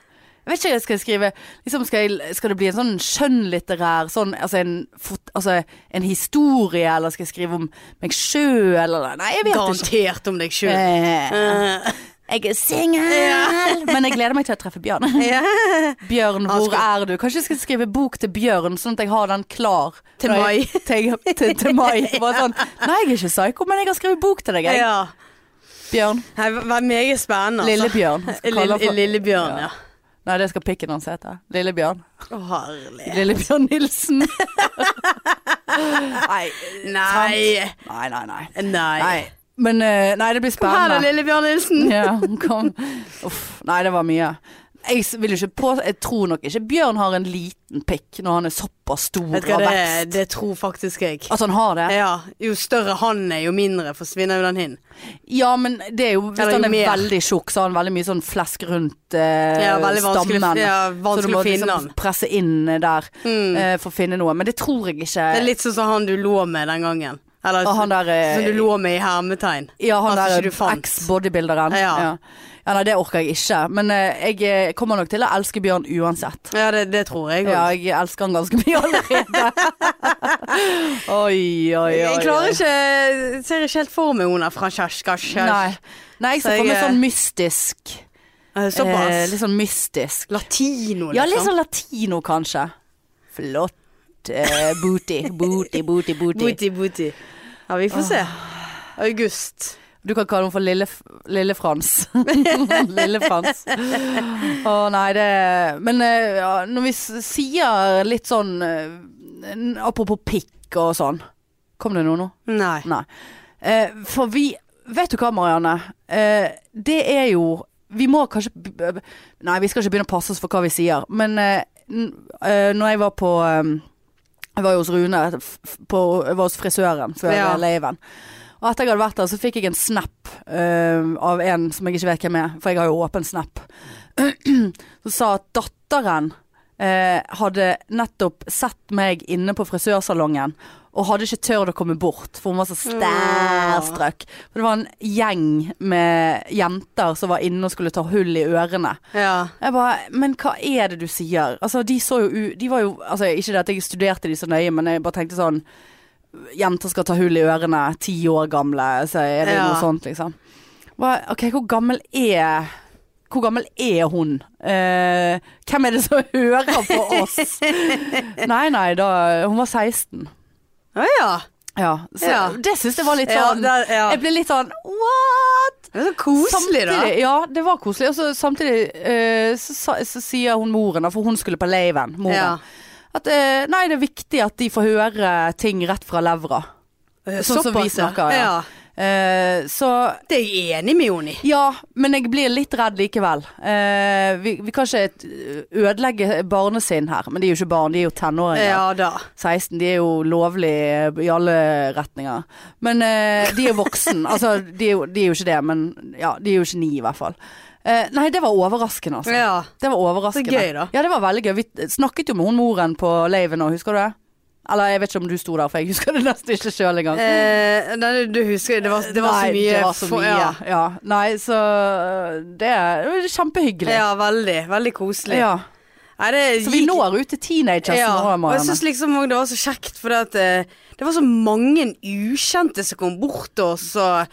Speaker 1: Jeg vet ikke, skal jeg skrive liksom skal, jeg, skal det bli en sånn skjønnlitterær sånn, altså, en, fot- altså en historie, eller skal jeg skrive om meg sjøl, eller Nei, jeg vet ikke.
Speaker 2: Garantert om deg sjøl.
Speaker 1: Eh, Jeg er singel! Men jeg gleder meg til å treffe Bjørn. Bjørn,
Speaker 2: Han
Speaker 1: hvor
Speaker 2: skal-
Speaker 1: er du? Kanskje jeg skal skrive bok til Bjørn, sånn at jeg har den klar
Speaker 2: Til
Speaker 1: når
Speaker 2: mai.
Speaker 1: jeg- Til, til, til mai. Bare sånn Nei, jeg er ikke psyko, men jeg har skrevet bok til deg, jeg.
Speaker 2: ja.
Speaker 1: Bjørn.
Speaker 2: Nei, det var meget spennende. Altså.
Speaker 1: Lillebjørn. Han skal kalle han
Speaker 2: Lille,
Speaker 1: for-
Speaker 2: Lillebjørn, ja.
Speaker 1: Nei, det skal pikken hans hete. Lillebjørn.
Speaker 2: Å, herlig.
Speaker 1: Lillebjørn Nilsen. nei,
Speaker 2: Nei.
Speaker 1: nei, nei. nei.
Speaker 2: Nei.
Speaker 1: Nei. Men eh, nei, det blir
Speaker 2: Kom her da,
Speaker 1: spennende.
Speaker 2: Lillebjørn Nilsen.
Speaker 1: Ja, hun kom. Uff, nei, det var mye. Jeg, s- vil jo ikke på, jeg tror nok ikke Bjørn har en liten pikk når han er såpass stor
Speaker 2: Vet du hva,
Speaker 1: av
Speaker 2: det,
Speaker 1: vekst.
Speaker 2: det tror faktisk jeg.
Speaker 1: At han har det?
Speaker 2: Ja, jo større han er, jo mindre forsvinner jo den hin.
Speaker 1: Ja, men det er jo Hvis
Speaker 2: Eller
Speaker 1: han
Speaker 2: jo
Speaker 1: er
Speaker 2: mer.
Speaker 1: veldig tjukk, så har han veldig mye sånn flesk rundt eh,
Speaker 2: Ja, veldig vanskelig,
Speaker 1: stammen.
Speaker 2: ja,
Speaker 1: så du
Speaker 2: vanskelig
Speaker 1: må
Speaker 2: å finne
Speaker 1: liksom
Speaker 2: han.
Speaker 1: presse inn eh, der
Speaker 2: Mm.
Speaker 1: eh, for å finne noe. Men det tror jeg ikke.
Speaker 2: Det er litt sånn som han du lå med den gangen. Eller
Speaker 1: Og han der, eh,
Speaker 2: som du lå med i hermetegn.
Speaker 1: Ja, han
Speaker 2: At ikke
Speaker 1: der
Speaker 2: du fant.
Speaker 1: eks-bodybuilderen.
Speaker 2: Ja.
Speaker 1: Ja, nei, det orker jeg ikke. Men eh, jeg eh, kommer nok til å elske Bjørn uansett.
Speaker 2: Ja, det, det tror jeg òg.
Speaker 1: Ja, jeg elsker han ganske mye allerede. oi, oi, oi.
Speaker 2: jeg klarer
Speaker 1: oi.
Speaker 2: ikke eh, Ser ikke helt for meg hun der fra Kjerska
Speaker 1: Nei. nei, jeg
Speaker 2: Så
Speaker 1: ser for meg
Speaker 2: jeg, eh,
Speaker 1: sånn mystisk. Eh,
Speaker 2: Såpass.
Speaker 1: litt sånn mystisk.
Speaker 2: Latino, liksom.
Speaker 1: Ja, litt sånn latino, kanskje. Flott eh, booty. Booty, booty, booty.
Speaker 2: Booty, booty. Ja, vi får
Speaker 1: Ah.
Speaker 2: se. August.
Speaker 1: Du kan kalle henne for Lille, lille Frans. lille Frans. Å nei, det Men eh, ja, når vi s- sier litt sånn eh, n- Apropos pikk og sånn. Kom det noe nå?
Speaker 2: Nei.
Speaker 1: Nei. Eh, for vi Vet du hva, Marianne? Eh, det er jo Vi må kanskje b- b- Nei, vi skal ikke begynne å passe oss for hva vi sier. Men eh, n- eh, når jeg var på eh, Jeg var jo hos Rune f- f- på, Jeg var hos frisøren før
Speaker 2: Ja.
Speaker 1: ja. laven. Og etter jeg hadde vært der, så fikk jeg en snap eh, av en som jeg ikke vet hvem er, for jeg har jo åpen snap, som sa at datteren eh, hadde nettopp sett meg inne på frisørsalongen og hadde ikke tørt å komme bort, for hun var så stærstrøk. For det var en gjeng med jenter som var inne og skulle ta hull i ørene.
Speaker 2: Ja.
Speaker 1: Jeg bare, men hva er det du sier? Altså, de så jo u... De var jo Altså, ikke det at jeg studerte de så nøye, men jeg bare tenkte sånn Jenter skal ta hull i ørene, ti år gamle, så er det jo
Speaker 2: Ja.
Speaker 1: noe sånt, liksom. Bare, OK, hvor gammel er Hvor gammel er hun? Eh, hvem er det som hører på oss? nei, nei, da Hun var 16.
Speaker 2: Å ja.
Speaker 1: Ja. Så
Speaker 2: Ja.
Speaker 1: det syns jeg var litt
Speaker 2: Ja,
Speaker 1: sånn
Speaker 2: der, ja.
Speaker 1: Jeg ble litt sånn What?
Speaker 2: Det er så koselig, da.
Speaker 1: samtidig, Ja, det var koselig. Og så samtidig eh, så, sa- så sier hun moren, da, for hun skulle på laven, moren,
Speaker 2: Ja.
Speaker 1: at eh, nei, det er viktig at de får høre ting rett fra levra. Sånn som vi
Speaker 2: Eh, Såpass, ja.
Speaker 1: snakker, ja.
Speaker 2: ja.
Speaker 1: Eh, så
Speaker 2: Det er jeg enig med henne i.
Speaker 1: ja, men jeg blir litt redd likevel. Eh, vi, vi kan ikke et- ødelegge barnesinn her, men de er jo ikke barn, de er jo tenåringer.
Speaker 2: Ja da.
Speaker 1: 16, de er jo lovlige i alle retninger. Men eh, de er voksen. altså, de er, jo, de er jo ikke det, men ja, de er jo ikke ni i hvert fall. Eh, nei, det var overraskende, altså.
Speaker 2: Ja.
Speaker 1: Det var overraskende.
Speaker 2: Det er gøy, da.
Speaker 1: Ja, det var veldig gøy. Vi snakket jo med hun moren på laven nå, husker du det? Eller jeg vet ikke om du sto der, for jeg husker det nesten ikke sjøl engang.
Speaker 2: Eh, nei, du husker det var, det var
Speaker 1: nei,
Speaker 2: så mye.
Speaker 1: Det var så
Speaker 2: for-
Speaker 1: mye. Ja. Nei, så eh, det er det er
Speaker 2: Ja.
Speaker 1: kjempehyggelig.
Speaker 2: ja, veldig. Veldig koselig.
Speaker 1: Ja.
Speaker 2: Nei, det
Speaker 1: Så vi
Speaker 2: gikk-
Speaker 1: når ut til teenagers
Speaker 2: ja.
Speaker 1: nå,
Speaker 2: Og jeg
Speaker 1: Marianne.
Speaker 2: syns liksom også det var så kjekt, for at, eh, det var så mange ukjente som kom bort til oss. Og,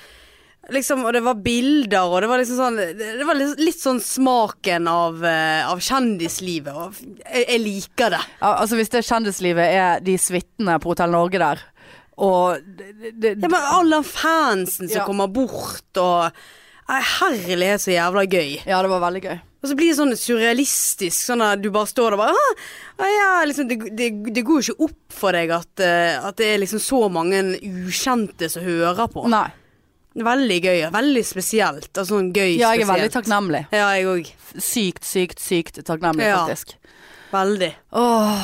Speaker 2: liksom, og det var bilder, og det var, liksom sånn, det det var litt, litt sånn smaken av, eh, av kjendislivet. Og jeg, jeg liker det.
Speaker 1: Ja, altså Hvis det kjendislivet er de suitene på Hotell Norge der, og det, det,
Speaker 2: Ja, men alle fansen som
Speaker 1: Ja.
Speaker 2: kommer bort, og Nei, Herlighet, så jævla gøy.
Speaker 1: Ja, det var veldig gøy.
Speaker 2: Og så blir det sånn surrealistisk, sånn at du bare står der og bare ah, ah, ja, liksom, det, det, det går jo ikke opp for deg at, eh, at det er liksom så mange ukjente som hører på.
Speaker 1: Nei.
Speaker 2: Veldig gøy, ja. veldig spesielt. Altså sånn gøy
Speaker 1: Ja, jeg er veldig
Speaker 2: spesielt.
Speaker 1: takknemlig.
Speaker 2: Ja, jeg òg.
Speaker 1: Sykt, sykt, sykt takknemlig,
Speaker 2: Ja.
Speaker 1: faktisk.
Speaker 2: Veldig.
Speaker 1: Åh,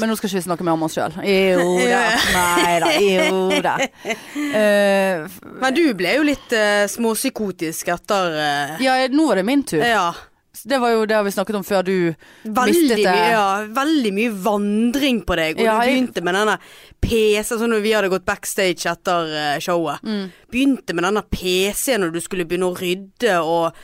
Speaker 1: men nå skal ikke vi snakke mer om oss sjøl. Jo da. Nei da. Jo da. Eh, f-
Speaker 2: Men du ble jo litt eh, småpsykotisk etter eh,
Speaker 1: ja, nå var det min tur.
Speaker 2: Ja.
Speaker 1: Det var jo det vi snakket om før du mistet eh,
Speaker 2: Veldig
Speaker 1: det.
Speaker 2: mye, ja, veldig mye vandring på deg. Og
Speaker 1: Ja,
Speaker 2: du
Speaker 1: jeg-
Speaker 2: begynte med denne PC Sånn når vi hadde gått backstage etter eh, showet.
Speaker 1: Mm.
Speaker 2: Begynte med denne PC-en når du skulle begynne å rydde og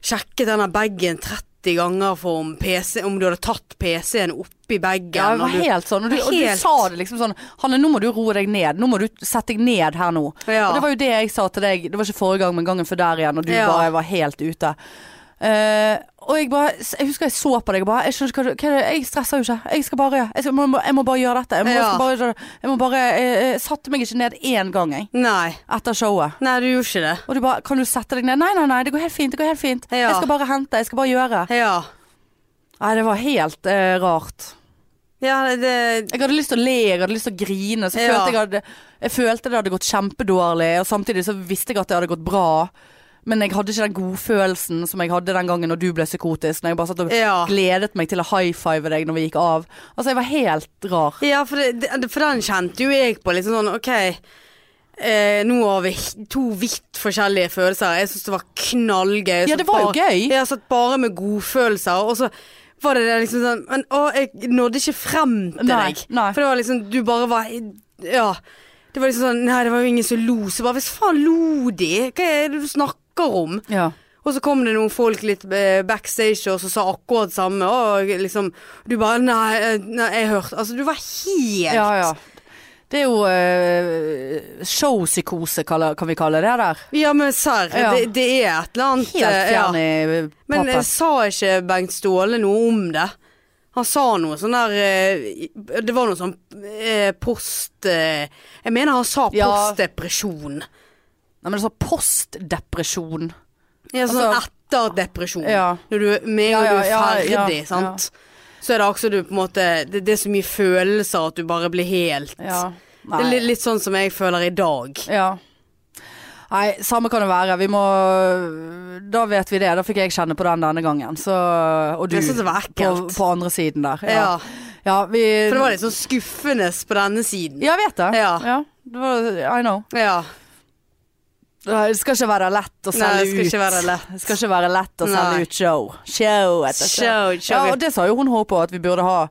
Speaker 2: sjekke denne bagen 30 ganger for om, PC, om du hadde tatt PC-en oppi bagen.
Speaker 1: Ja, jeg var
Speaker 2: og du-
Speaker 1: helt sånn. Og du, og du
Speaker 2: Helt.
Speaker 1: sa det liksom sånn Hanne, nå må du roe deg ned. Nå må du sette deg ned her nå.
Speaker 2: Ja.
Speaker 1: Og det var jo det jeg sa til deg. Det var ikke forrige gang, men gangen før der igjen. Og du
Speaker 2: Ja.
Speaker 1: bare var helt ute. Eh, og jeg bare Jeg husker jeg så på deg og bare Jeg skjønner ikke hva du hva er det, Jeg stresser jo ikke. Jeg skal bare Jeg, skal, må- må- jeg må bare gjøre dette. Jeg må,
Speaker 2: Ja.
Speaker 1: skal bare, gjøre det. jeg må bare jeg, jeg satte meg ikke ned én gang, jeg.
Speaker 2: Nei.
Speaker 1: Etter showet.
Speaker 2: Nei, du gjorde ikke det.
Speaker 1: Og du bare Kan du sette deg ned? Nei, nei, nei. Det går helt fint. Det går helt fint.
Speaker 2: Ja.
Speaker 1: Jeg skal bare hente. Jeg skal bare gjøre.
Speaker 2: Ja.
Speaker 1: Nei, det var helt eh, rart.
Speaker 2: Ja, det
Speaker 1: Jeg hadde lyst til å le, jeg hadde lyst til å grine. Så
Speaker 2: Ja.
Speaker 1: følte jeg, hadde, jeg følte det hadde gått kjempedårlig, og samtidig så visste jeg at det hadde gått bra. Men jeg hadde ikke den godfølelsen som jeg hadde den gangen når du ble psykotisk. Når jeg bare satt og
Speaker 2: Ja.
Speaker 1: gledet meg til å high five deg når vi gikk av. Altså, jeg var helt rar.
Speaker 2: Ja, for, det, det, for den kjente jo jeg på litt sånn OK. Eh, nå har vi h- to vidt forskjellige følelser. Jeg syns det var knallgøy. Jeg
Speaker 1: Ja,
Speaker 2: satt
Speaker 1: det var jo
Speaker 2: bare-
Speaker 1: gøy.
Speaker 2: Jeg satt bare med godfølelser, og så var det det liksom sånn Men å, jeg nådde ikke frem til
Speaker 1: Nei,
Speaker 2: deg.
Speaker 1: nei.
Speaker 2: For det var liksom Du bare var Ja. Det var liksom sånn Nei, det var jo ingen som lo. Så jeg bare Hvis faen lo de? Hva er det du snakker om?
Speaker 1: Ja.
Speaker 2: Og så kom det noen folk litt eh, backstage og så sa akkurat samme. Og liksom Du bare Nei, eh, nei jeg hørte Altså, du var helt
Speaker 1: ja, ja. Det er jo eh, showpsykose, kaller- kan vi kalle det der.
Speaker 2: Ja, men serr.
Speaker 1: Ja.
Speaker 2: Det, det er et eller annet
Speaker 1: Helt
Speaker 2: eh, ja.
Speaker 1: fjern i
Speaker 2: Men eh,
Speaker 1: pappen.
Speaker 2: sa ikke Bengt Ståle noe om det? Han sa noe sånn der eh, Det var noe sånn eh, post... Eh, jeg mener han sa
Speaker 1: Ja.
Speaker 2: postdepresjon.
Speaker 1: Nei, men det er sånn postdepresjon.
Speaker 2: Ja, sånn
Speaker 1: Altså-
Speaker 2: etter depresjon.
Speaker 1: Ja.
Speaker 2: Når du er med
Speaker 1: Ja,
Speaker 2: og du er
Speaker 1: ja,
Speaker 2: ferdig,
Speaker 1: ja, ja.
Speaker 2: sant. Så er det akkurat du på en måte det, det er så mye følelser at du bare blir helt
Speaker 1: Ja.
Speaker 2: Det er
Speaker 1: Nei.
Speaker 2: litt, litt sånn som jeg føler i dag.
Speaker 1: Ja. Nei, samme kan det være. Vi må Da vet vi det. Da fikk jeg kjenne på den denne gangen. Så, og du
Speaker 2: Jeg synes det var
Speaker 1: på,
Speaker 2: ekkelt.
Speaker 1: på andre siden der.
Speaker 2: Ja.
Speaker 1: Ja, ja vi
Speaker 2: For det var litt sånn skuffende på denne siden.
Speaker 1: Ja, jeg vet det.
Speaker 2: Ja.
Speaker 1: Det var, I know.
Speaker 2: Ja.
Speaker 1: Nei, Det skal ikke være lett å selge
Speaker 2: Nei, det skal
Speaker 1: ut.
Speaker 2: ikke være lett.
Speaker 1: Det skal ikke være lett å selge
Speaker 2: Nei.
Speaker 1: ut show. Show etter show.
Speaker 2: Show, show.
Speaker 1: Ja, og det sa jo hun håpet på, at vi burde ha,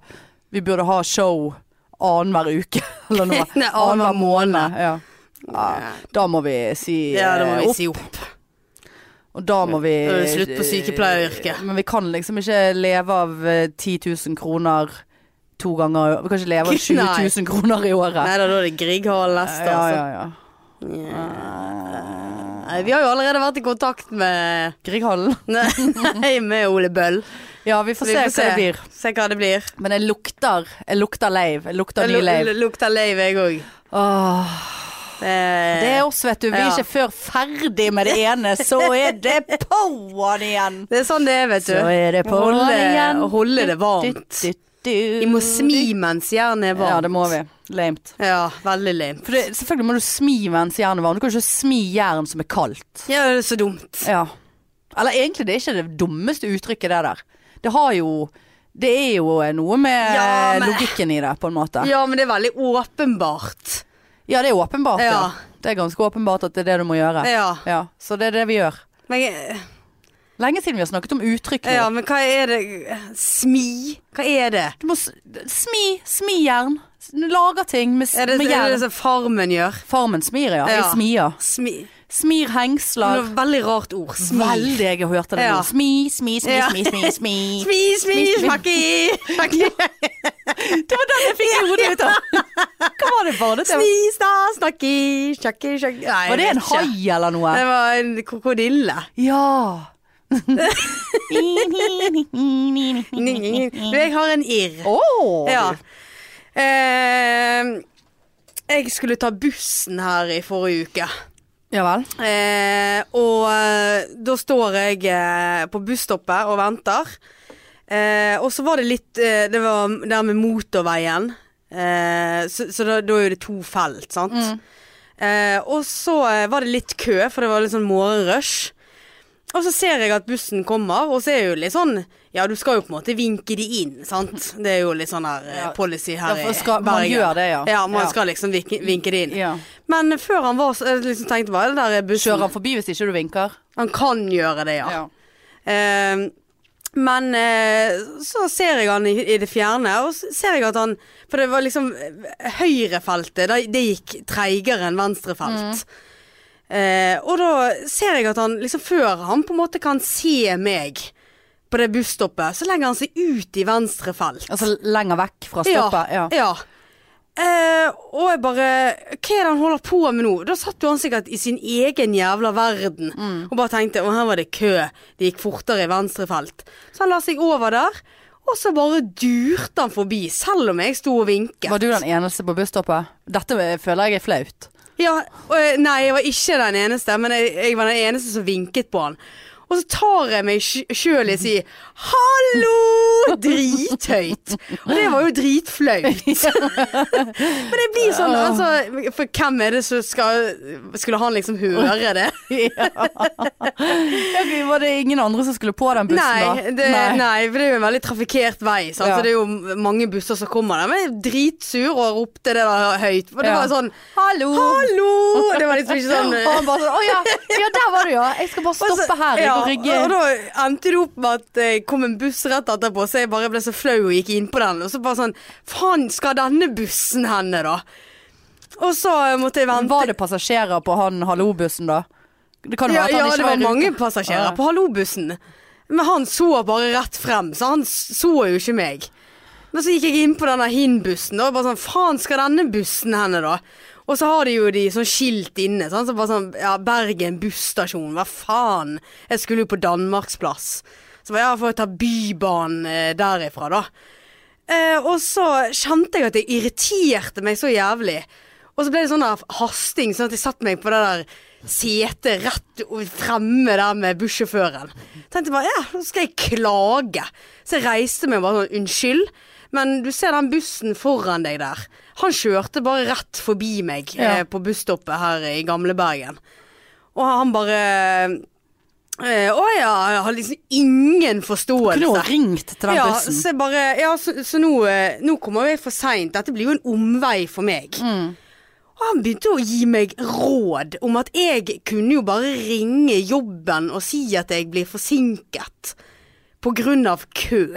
Speaker 1: vi burde ha show annenhver uke. Eller noe.
Speaker 2: Nei, annenhver måned.
Speaker 1: Ja. Ja, da må vi si
Speaker 2: ja, det må
Speaker 1: eh,
Speaker 2: vi
Speaker 1: opp.
Speaker 2: si opp.
Speaker 1: Og da må vi
Speaker 2: Da er det slutt på sykepleieryrket.
Speaker 1: Men vi kan liksom ikke leve av eh, 10 000 kroner to ganger Vi kan ikke leve av 20 000 kroner i året.
Speaker 2: Nei da, da er det Grieghallen neste,
Speaker 1: ja,
Speaker 2: altså.
Speaker 1: ja, ja.
Speaker 2: Nei, vi har jo allerede vært i kontakt med
Speaker 1: Grieghallen.
Speaker 2: Nei, med Ole Bøll.
Speaker 1: Ja, vi får
Speaker 2: Vi
Speaker 1: se
Speaker 2: får
Speaker 1: hva det blir.
Speaker 2: Se hva det blir.
Speaker 1: Men jeg lukter Jeg lukter leiv. Jeg lukter
Speaker 2: Det
Speaker 1: ny leiv.
Speaker 2: lu- lukter leiv, jeg òg.
Speaker 1: Åh, det er
Speaker 2: Det,
Speaker 1: oss, vet du. Vi er
Speaker 2: Ja.
Speaker 1: ikke før ferdig med det ene, så er det på'n igjen.
Speaker 2: det er sånn det er, vet du.
Speaker 1: Så er det på'n
Speaker 2: Holde-
Speaker 1: igjen.
Speaker 2: holde det varmt.
Speaker 1: Du, du, du.
Speaker 2: Vi må smi mens jernet er varmt.
Speaker 1: Ja, det må vi. Lamet.
Speaker 2: Ja, veldig lame.
Speaker 1: For det, selvfølgelig må du smi mens jernet er varmt. Du kan ikke smi jern som er kaldt.
Speaker 2: Ja, det er så dumt.
Speaker 1: Ja. Eller egentlig, det er ikke det dummeste uttrykket, det der. Det har jo Det er jo eh, noe med
Speaker 2: Ja, men-
Speaker 1: logikken i det, på en måte. Ja,
Speaker 2: Ja, men det er veldig åpenbart.
Speaker 1: det er åpenbart, ja.
Speaker 2: Ja.
Speaker 1: Det er ganske åpenbart at det er det du må gjøre.
Speaker 2: Ja.
Speaker 1: Så det er det vi gjør.
Speaker 2: Men, jeg-
Speaker 1: Lenge siden vi har snakket om uttrykk nå.
Speaker 2: ja, men hva er det Smi? Hva er det?
Speaker 1: Du må s- smi, smi jern. Lager ting med, s-
Speaker 2: Er det,
Speaker 1: med
Speaker 2: er det
Speaker 1: jern.
Speaker 2: som farmen gjør?
Speaker 1: Farmen smir, ja. Jeg
Speaker 2: Ja.
Speaker 1: smier.
Speaker 2: Smi.
Speaker 1: Smir
Speaker 2: Det
Speaker 1: hengsler.
Speaker 2: er et veldig rart ord. Smi.
Speaker 1: Veldig, jeg hørte det
Speaker 2: Ja.
Speaker 1: nå. Smi, smi, smi,
Speaker 2: Ja.
Speaker 1: smi, smi, smi.
Speaker 2: Smi, smi,
Speaker 1: Smi, smi.
Speaker 2: smakki!
Speaker 1: Det var den jeg fikk i hodet mitt. da. Hva var det bare det?
Speaker 2: Smi, sta, snakki, sjakki, sjakki Nei,
Speaker 1: Var det en
Speaker 2: jeg vet ikke.
Speaker 1: hai eller noe?
Speaker 2: Det var en krokodille.
Speaker 1: Ja.
Speaker 2: Du, jeg har en irr.
Speaker 1: Å!
Speaker 2: Ja. Eh, jeg skulle ta bussen her i forrige uke.
Speaker 1: Ja vel.
Speaker 2: Eh, og eh, da står jeg eh, på busstoppet og venter. Eh, og så var det litt eh, Det var der med motorveien. Eh, så så da, da er jo det to felt, sant.
Speaker 1: Mm.
Speaker 2: Eh, og så eh, var det litt kø, for det var litt sånn morgenrush. Og så ser jeg at bussen kommer, og så er det jo litt sånn Ja, du skal jo på en måte vinke de inn, sant. Det er jo litt sånn her eh,
Speaker 1: Ja.
Speaker 2: policy her
Speaker 1: Ja, for
Speaker 2: i
Speaker 1: skal- man gjør det, ja.
Speaker 2: Ja, man
Speaker 1: Ja.
Speaker 2: skal liksom vinke, vinke de inn.
Speaker 1: Ja.
Speaker 2: Men før han var så jeg liksom tenkte bare det der er bussen.
Speaker 1: Kjører han forbi hvis ikke du vinker?
Speaker 2: Han kan gjøre det, ja. Eh, men eh, så ser jeg han i, i det fjerne, og så ser jeg at han For det var liksom eh, høyrefeltet, det, det gikk treigere
Speaker 1: Mm.
Speaker 2: enn venstrefelt. Eh, og da ser jeg at han liksom før han på en måte kan se meg på det busstoppet, så legger han seg ut i venstre felt.
Speaker 1: Altså lenger vekk fra stoppet? Ja.
Speaker 2: Ja. Eh, og jeg bare Hva er det han holder på med nå? Da satt jo han sikkert i sin egen jævla verden
Speaker 1: Mm.
Speaker 2: og bare tenkte Å, her var det kø. Det gikk fortere i venstre felt. Så han la seg over der, og så bare durte han forbi, selv om jeg sto og vinket.
Speaker 1: Var du den eneste på busstoppet? Dette føler jeg er flaut.
Speaker 2: Ja, og, eh, nei, jeg var ikke den eneste, men jeg, jeg var den eneste som vinket på han. Og så tar jeg meg sj- sjøl i å si 'hallo' drithøyt. Og det var jo dritflaut. men det blir sånn, altså For hvem er det som skal Skulle han liksom høre det?
Speaker 1: Ja. Ok, Var det ingen andre som skulle på den bussen
Speaker 2: Nei,
Speaker 1: da?
Speaker 2: det, nei. for det er jo en veldig trafikkert vei. Sant?
Speaker 1: Ja.
Speaker 2: Så det er jo mange busser som kommer der. Men jeg er dritsur og ropte det da høyt. For det
Speaker 1: Ja.
Speaker 2: var sånn
Speaker 1: Hallo!
Speaker 2: 'hallo'! Det var liksom ikke sånn
Speaker 1: Og han bare sånn Å ja, ja, der var du, ja. Jeg skal bare
Speaker 2: Og så-
Speaker 1: stoppe her. Jeg
Speaker 2: Altså,
Speaker 1: går
Speaker 2: ja,
Speaker 1: rygge
Speaker 2: Og da endte det opp med at det kom en buss rett etterpå, så jeg bare ble så flau og gikk inn på den. Og så bare sånn Faen, skal denne bussen henne, da? Og så måtte jeg vente.
Speaker 1: Var det passasjerer på han hallobussen da? Det kan jo
Speaker 2: Ja,
Speaker 1: være at
Speaker 2: ja
Speaker 1: han ikke
Speaker 2: det var
Speaker 1: i rute.
Speaker 2: mange passasjerer
Speaker 1: Ja.
Speaker 2: på hallobussen. Men han så bare rett frem, så han s- så jo ikke meg. Men så gikk jeg inn på denne hin-bussen, da, og bare sånn Faen, skal denne bussen henne, da? Og så har de jo de sånn skilt inne, sånn, så bare sånn Ja, Bergen busstasjon, hva faen? Jeg skulle jo på Danmarksplass. Så bare ja, får jeg ta Bybanen eh, derifra, da. Eh, og så kjente jeg at det irriterte meg så jævlig. Og så ble det sånn der hasting, sånn at jeg satte meg på det der setet rett o- fremme der med bussjåføren. Tenkte bare ja, nå skal jeg klage. Så jeg reiste meg bare sånn unnskyld, men du ser den bussen foran deg der. Han kjørte bare rett forbi meg
Speaker 1: Ja.
Speaker 2: eh, på busstoppet her i gamle Bergen. Og han bare eh, Å ja, jeg har liksom ingen forståelse
Speaker 1: Kunne jo ringt til den
Speaker 2: ja,
Speaker 1: bussen.
Speaker 2: Så, jeg bare, ja, så, så nå, eh, nå kommer jeg for seint. Dette blir jo en omvei for meg.
Speaker 1: Mm.
Speaker 2: Og han begynte å gi meg råd om at jeg kunne jo bare ringe jobben og si at jeg blir forsinket på grunn av kø.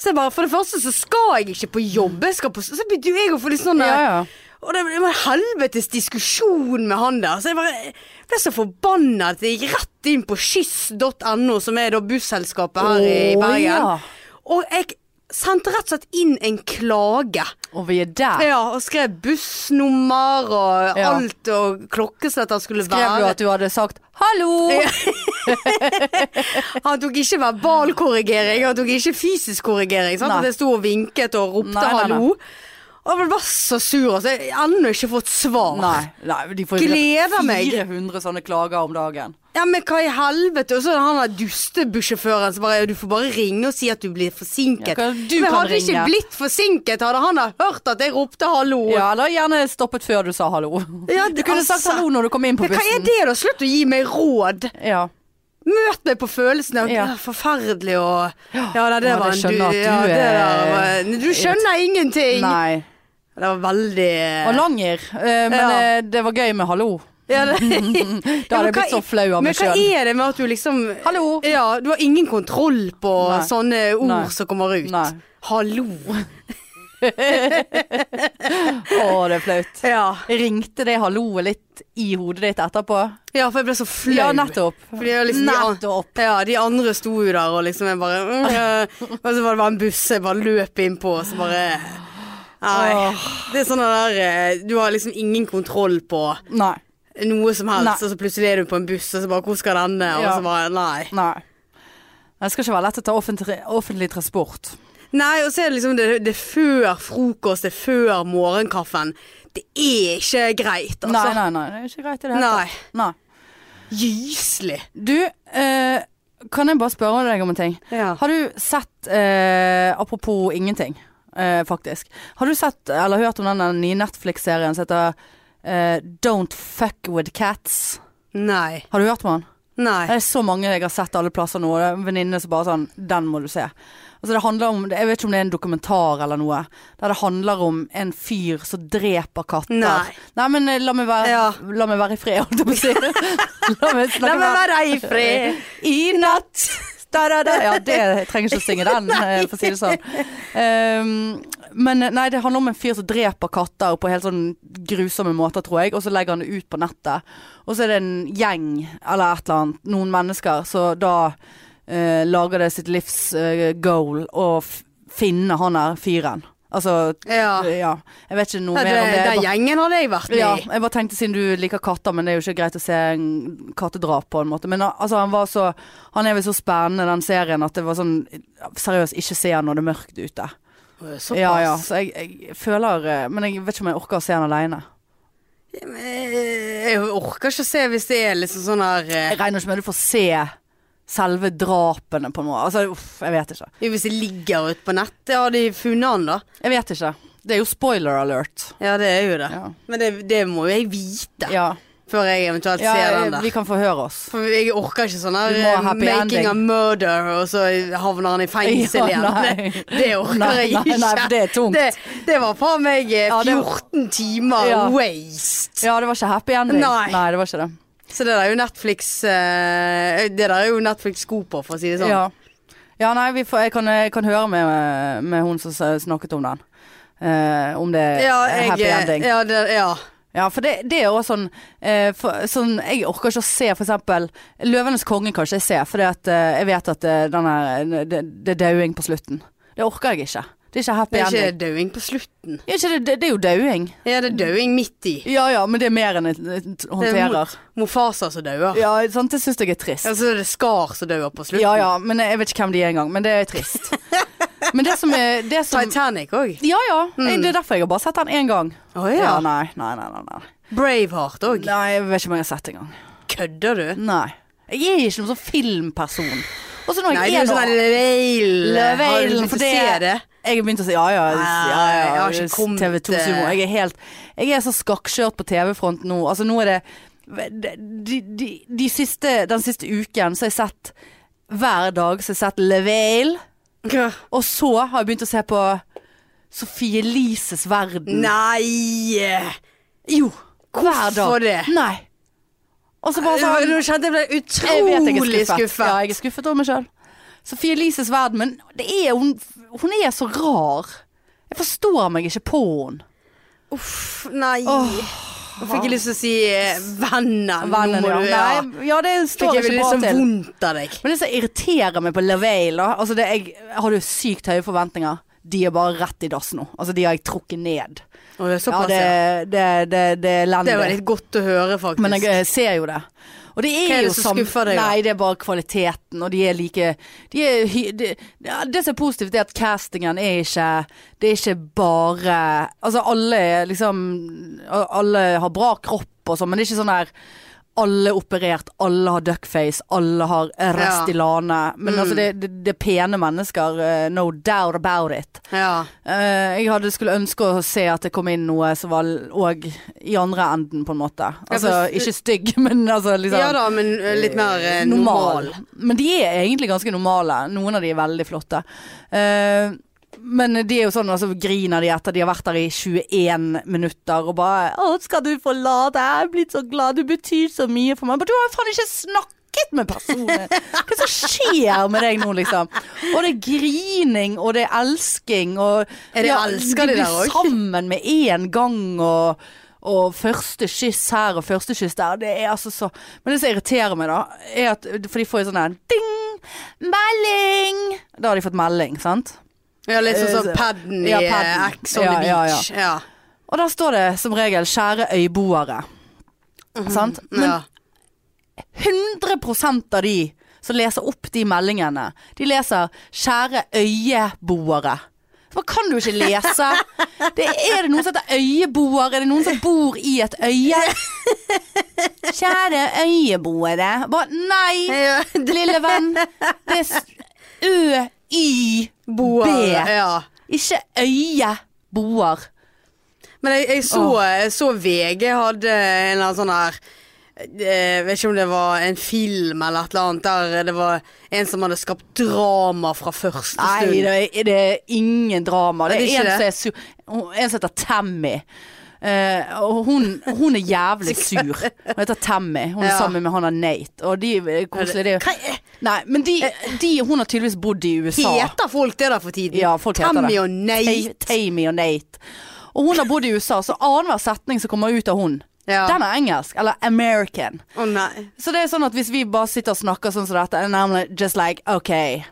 Speaker 2: Så jeg bare, For det første så skal jeg ikke på jobb. Jeg skal på, så begynte jo jeg å få litt sånn der-
Speaker 1: Ja, ja.
Speaker 2: og det det var en helvetes diskusjon med han der. Så jeg bare ble så forbanna at jeg gikk rett inn på skyss.no, som er da busselskapet her i
Speaker 1: Å,
Speaker 2: Bergen.
Speaker 1: ja.
Speaker 2: Og jeg sendte rett og slett inn en klage.
Speaker 1: Og vi er der.
Speaker 2: Ja, og skrev bussnummer og
Speaker 1: Ja.
Speaker 2: alt, og klokkeslett han skulle
Speaker 1: Skrev du
Speaker 2: være.
Speaker 1: at du hadde sagt 'hallo'?
Speaker 2: Han tok ikke verbalkorrigering, han tok ikke fysisk korrigering. Sant?
Speaker 1: Nei.
Speaker 2: At jeg sto og vinket og ropte
Speaker 1: Nei, nei, nei.
Speaker 2: hallo. Og jeg ble bare så sur, altså. Jeg har ennå ikke fått svar.
Speaker 1: Nei, nei, de får jo
Speaker 2: Gleder meg.
Speaker 1: 400 sånne klager om dagen.
Speaker 2: Ja, men hva i helvete? Og så er det han der dustebussjåføren som bare ja, Du får bare ringe og si at du blir
Speaker 1: Ja,
Speaker 2: forsinket.
Speaker 1: hva- du
Speaker 2: men
Speaker 1: kan
Speaker 2: hadde ikke
Speaker 1: ringe.
Speaker 2: blitt forsinket, hadde han da hørt at jeg ropte hallo.
Speaker 1: Ja, eller gjerne stoppet før du sa hallo.
Speaker 2: Ja,
Speaker 1: Du kunne sagt
Speaker 2: altså.
Speaker 1: hallo når du kom inn på
Speaker 2: Men hva er
Speaker 1: bussen.
Speaker 2: det, da? Slutt å gi meg råd.
Speaker 1: Ja.
Speaker 2: Møt meg på følelsene.
Speaker 1: Ja.
Speaker 2: Ja. Forferdelig og Ja, nei, det
Speaker 1: Ja,
Speaker 2: var
Speaker 1: jeg
Speaker 2: en
Speaker 1: skjønner at du
Speaker 2: ja, det
Speaker 1: er-
Speaker 2: der var- Du skjønner ingenting.
Speaker 1: Nei.
Speaker 2: Det var veldig
Speaker 1: Og Langer. eh, Men
Speaker 2: Ja.
Speaker 1: eh, det var gøy med hallo.
Speaker 2: ja, det...
Speaker 1: Da hadde jeg blitt så flau av meg
Speaker 2: sjøl.
Speaker 1: sjøl.
Speaker 2: Men hva er det med at du liksom
Speaker 1: Hallo.
Speaker 2: Ja, du har ingen kontroll på
Speaker 1: Nei.
Speaker 2: sånne ord
Speaker 1: Nei.
Speaker 2: som kommer ut.
Speaker 1: Nei.
Speaker 2: Hallo.
Speaker 1: Å, det er flaut.
Speaker 2: Ja.
Speaker 1: Ringte det halloet litt i hodet ditt etterpå?
Speaker 2: ja, for jeg ble så flau.
Speaker 1: Ja, nettopp.
Speaker 2: Fordi jeg liksom,
Speaker 1: Nettopp.
Speaker 2: De, an- ja, de andre sto jo der, og liksom jeg bare mm, eh, Og så var det bare en buss jeg bare løp innpå, og så bare Nei. Det er sånn det der eh, Du har liksom ingen kontroll på
Speaker 1: Nei.
Speaker 2: noe som helst,
Speaker 1: Nei.
Speaker 2: og så plutselig er du på en buss, og så bare Hvor skal denne? Og
Speaker 1: Ja.
Speaker 2: så bare Nei.
Speaker 1: Nei. Det skal ikke være lett å ta offentlig, offentlig transport.
Speaker 2: Nei, og så er det liksom det, det er før frokost, det er før morgenkaffen. Det er ikke greit,
Speaker 1: Nei,
Speaker 2: altså.
Speaker 1: nei, nei. Det er ikke greit i det hele tatt. Nei.
Speaker 2: Gyselig.
Speaker 1: Du, eh, kan jeg bare spørre deg om en ting?
Speaker 2: Ja.
Speaker 1: Har du sett eh, Apropos ingenting, eh, faktisk. Har du sett eller hørt om den nye Netflix-serien som heter eh, Don't Fuck With Cats?
Speaker 2: Nei.
Speaker 1: Har du hørt om den?
Speaker 2: Nei.
Speaker 1: Det er så mange jeg har sett alle plasser nå. og Det er en venninne som bare sånn Den må du se. Altså det handler om Jeg vet ikke om det er en dokumentar eller noe. Der det handler om en fyr som dreper katter.
Speaker 2: Nei.
Speaker 1: men eh, la meg være,
Speaker 2: Ja.
Speaker 1: la meg være i fred, holdt jeg på å si. la meg snakke
Speaker 2: La meg
Speaker 1: med-
Speaker 2: være i fred.
Speaker 1: i natt da, da, da. Ja, det jeg trenger ikke å synge den, eh, for å si det sånn. Ehm, men eh, nei, det handler om en fyr som dreper katter på helt sånn grusomme måter, tror jeg. Og så legger han det ut på nettet. Og så er det en gjeng, eller et eller annet, noen mennesker, som da eh, lager det sitt livs eh, goal å f finne han der fyren. Altså
Speaker 2: Ja.
Speaker 1: ja. Jeg vet ikke noe
Speaker 2: Ja, Ah. det,
Speaker 1: mer om det. Jeg
Speaker 2: den
Speaker 1: bare-
Speaker 2: gjengen hadde jeg vært med
Speaker 1: ja,
Speaker 2: i.
Speaker 1: jeg bare tenkte siden du liker katter, men det er jo ikke greit å se en kattedrap på en måte. Men al- altså, han var så Han er vel så spennende, den serien, at det var sånn Seriøst, ikke se han når det er mørkt ute.
Speaker 2: Såpass.
Speaker 1: Ja, ja. Så jeg, jeg føler eh, Men jeg vet ikke om jeg orker å se han aleine.
Speaker 2: Eh, Jeg orker ikke å se hvis det er liksom sånn her eh,
Speaker 1: Jeg regner ikke med du får se selve drapene på noe. Altså, uff, jeg vet ikke.
Speaker 2: Hvis det ligger ute på nettet, har de funnet han da?
Speaker 1: Jeg vet ikke. Det er jo spoiler alert.
Speaker 2: Ja, det er jo det.
Speaker 1: Ja.
Speaker 2: Men det, det må jo jeg vite
Speaker 1: Ja,
Speaker 2: før jeg eventuelt
Speaker 1: ja
Speaker 2: ser den der.
Speaker 1: vi kan forhøre oss.
Speaker 2: For jeg orker ikke sånn her
Speaker 1: Du må ha
Speaker 2: eh,
Speaker 1: happy ending.
Speaker 2: making a murder, og så havner han i fengsel
Speaker 1: Ja,
Speaker 2: igjen.
Speaker 1: nei.
Speaker 2: Det, det orker
Speaker 1: Nei,
Speaker 2: jeg
Speaker 1: nei,
Speaker 2: ikke.
Speaker 1: nei, for det er tungt.
Speaker 2: Det, det var faen meg eh,
Speaker 1: Ja, det-
Speaker 2: 14 timer
Speaker 1: Ja.
Speaker 2: waste.
Speaker 1: Ja, det var ikke happy ending.
Speaker 2: Nei.
Speaker 1: Nei det var ikke det.
Speaker 2: Så det der er jo Netflix eh, Det der er jo Netflix god på, for å si det sånn.
Speaker 1: Ja. ja, nei, vi får, jeg, kan, jeg kan høre med, med hun som s- snakket om den. eh, om det er
Speaker 2: Ja, jeg, eh,
Speaker 1: happy ending.
Speaker 2: Ja, det, ja.
Speaker 1: Ja, for det, det er også sånn, eh, for, sånn Jeg orker ikke å se for eksempel Løvenes konge kan ikke jeg se, for at, eh, jeg vet at eh, den her- det, det er dauing på slutten. Det orker jeg ikke. Det er ikke happy
Speaker 2: Det er
Speaker 1: ending.
Speaker 2: ikke dauing på slutten.
Speaker 1: Ja, ikke det, det, det er jo dauing.
Speaker 2: Ja, det er dauing midt i.
Speaker 1: Ja ja, men det er mer enn jeg eh, håndterer.
Speaker 2: Mofasa som dauer.
Speaker 1: Ja, sant, det syns jeg er trist.
Speaker 2: Og så er det Skar som dauer på slutten.
Speaker 1: Ja ja, men jeg vet ikke hvem de er engang, men det er trist. Men det som er det som,
Speaker 2: Titanic òg.
Speaker 1: Ja ja, jeg, det er derfor jeg har bare sett den én gang.
Speaker 2: Å Mm. ja.
Speaker 1: nei, nei, nei, nei, nei.
Speaker 2: Braveheart òg.
Speaker 1: Nei, jeg vet ikke om jeg har sett engang.
Speaker 2: Kødder du?
Speaker 1: Nei. Jeg er ikke noen sånn filmperson. Og så når
Speaker 2: Nei,
Speaker 1: jeg
Speaker 2: det er jo
Speaker 1: er
Speaker 2: sånn
Speaker 1: noe-
Speaker 2: Løveilen. Har du
Speaker 1: Løveilen,
Speaker 2: begynt
Speaker 1: for
Speaker 2: å
Speaker 1: det-
Speaker 2: se det?
Speaker 1: Jeg begynte å si ja ja, ja,
Speaker 2: Nei, jeg
Speaker 1: ja,
Speaker 2: har ikke kommet
Speaker 1: TV 2
Speaker 2: til-
Speaker 1: Sumo. Jeg er helt Jeg er så skakkskjørt på TV-fronten nå. Altså nå er det de, de, de siste, Den siste uken så har jeg sett Hver dag så har jeg sett Leveil. Og så har jeg begynt å se på Sofie Elises verden.
Speaker 2: Nei!
Speaker 1: Jo. Hver dag.
Speaker 2: Hvorfor det?
Speaker 1: Nei. Og så bare sånn
Speaker 2: Nå kjente jeg ble
Speaker 1: Jeg vet jeg er
Speaker 2: utrolig
Speaker 1: skuffet. Ja,
Speaker 2: skuffet.
Speaker 1: jeg er skuffet over meg sjøl. Sofie Elises verden, men det er, hun, hun er så rar. Jeg forstår meg ikke på henne.
Speaker 2: Uff, nei. Nå fikk jeg lyst til å si eh, vennen.
Speaker 1: Vennen,
Speaker 2: Nå
Speaker 1: ja.
Speaker 2: må du- ja.
Speaker 1: Nei, ja, det
Speaker 2: Fikk
Speaker 1: står
Speaker 2: jeg
Speaker 1: ikke
Speaker 2: litt
Speaker 1: bra
Speaker 2: sånn
Speaker 1: til.
Speaker 2: vondt av deg.
Speaker 1: Men det som irriterer meg på LaVey, da altså det, Jeg jeg hadde jo sykt høye forventninger. De er bare rett i dass nå. Altså, de har jeg trukket ned.
Speaker 2: Å, ja,
Speaker 1: Ja,
Speaker 2: såpass,
Speaker 1: det,
Speaker 2: ja.
Speaker 1: det, det, det er elendig.
Speaker 2: Det var litt godt å høre, faktisk.
Speaker 1: Men jeg eh, ser jo det. Og det er,
Speaker 2: Hva er det
Speaker 1: jo
Speaker 2: som
Speaker 1: sam-
Speaker 2: skuffer deg, da?
Speaker 1: Nei, det er bare kvaliteten, og de er like de er, hy- de, ja, Det som er positivt, er at castingen er ikke Det er ikke bare Altså, alle er liksom Alle har bra kropp og sånn, men det er ikke sånn der alle er operert, alle har duckface, alle har Restylane. Men
Speaker 2: Mm.
Speaker 1: altså, det, det, det er pene mennesker, eh, no doubt about it.
Speaker 2: ja.
Speaker 1: Eh, jeg hadde skulle ønske å se at det kom inn noe som var l- òg i andre enden, på en måte. Altså
Speaker 2: for-
Speaker 1: ikke stygg, men altså liksom
Speaker 2: ja da, men eh, litt mer eh, normal.
Speaker 1: Men de er egentlig ganske normale. Noen av de er veldig flotte. Eh, men de er jo sånn, altså griner de etter de har vært der i 21 minutter og bare 'Å, skal du forlate? Jeg er blitt så glad. Du betyr så mye for meg.' Men du har jo faen ikke snakket med personen! Hva som skjer med deg nå, liksom? Og det er grining, og det er elsking, og
Speaker 2: Er det elsker de
Speaker 1: blir
Speaker 2: der også?
Speaker 1: sammen med én gang, og og første kyss her og første kyss der. Det er altså så Men det som irriterer meg, da, er at For de får jo sånn her ding! Melding! Da har de fått melding, sant?
Speaker 2: Ja, litt sånn som
Speaker 1: Eh, så-
Speaker 2: padden i
Speaker 1: ja,
Speaker 2: eh,
Speaker 1: padden.
Speaker 2: Ex on
Speaker 1: Ja,
Speaker 2: the
Speaker 1: ja,
Speaker 2: Beach. Ja,
Speaker 1: Og der står det som regel 'kjære øyboere'.
Speaker 2: Mhm.
Speaker 1: Sant? Men
Speaker 2: ja.
Speaker 1: 100 av de som leser opp de meldingene, de leser 'kjære øyeboere'. Så bare kan du ikke lese? Det, er det noen som heter øyeboer? Er det noen som bor i et øye? Kjære øyeboere. Bare nei,
Speaker 2: ja.
Speaker 1: lille venn. Det er s-
Speaker 2: Boa.
Speaker 1: ø-y-b.
Speaker 2: Ja.
Speaker 1: Ikke øyeboer.
Speaker 2: Men jeg, jeg, så, jeg så VG hadde en eller annen sånn her jeg vet ikke om det var en film eller et eller annet der eh, det var en som hadde skapt drama fra første stund.
Speaker 1: Nei, det er, det er ingen drama. Det
Speaker 2: Er
Speaker 1: er,
Speaker 2: det ikke det?
Speaker 1: en, som er sur, en som heter Tammy. Eh, og hun, hun er jævlig sur. Hun heter Tammy. Hun er
Speaker 2: Ja.
Speaker 1: sammen med han der Nate. Og de eh, er koselige. De,
Speaker 2: Hva Eh, er-
Speaker 1: nei, men de, de Hun har tydeligvis bodd i USA.
Speaker 2: Heter folk det der for tiden?
Speaker 1: Ja, folk heter
Speaker 2: Tammy
Speaker 1: det.
Speaker 2: og Nate.
Speaker 1: Ta- Tammy og Nate. Og hun har bodd i USA, så annenhver setning som kommer ut av hun,
Speaker 2: Ja.
Speaker 1: den er engelsk. Eller American.
Speaker 2: Å nei.
Speaker 1: Så det er sånn at hvis vi bare sitter og snakker sånn som dette, and I'm like, just like, ok,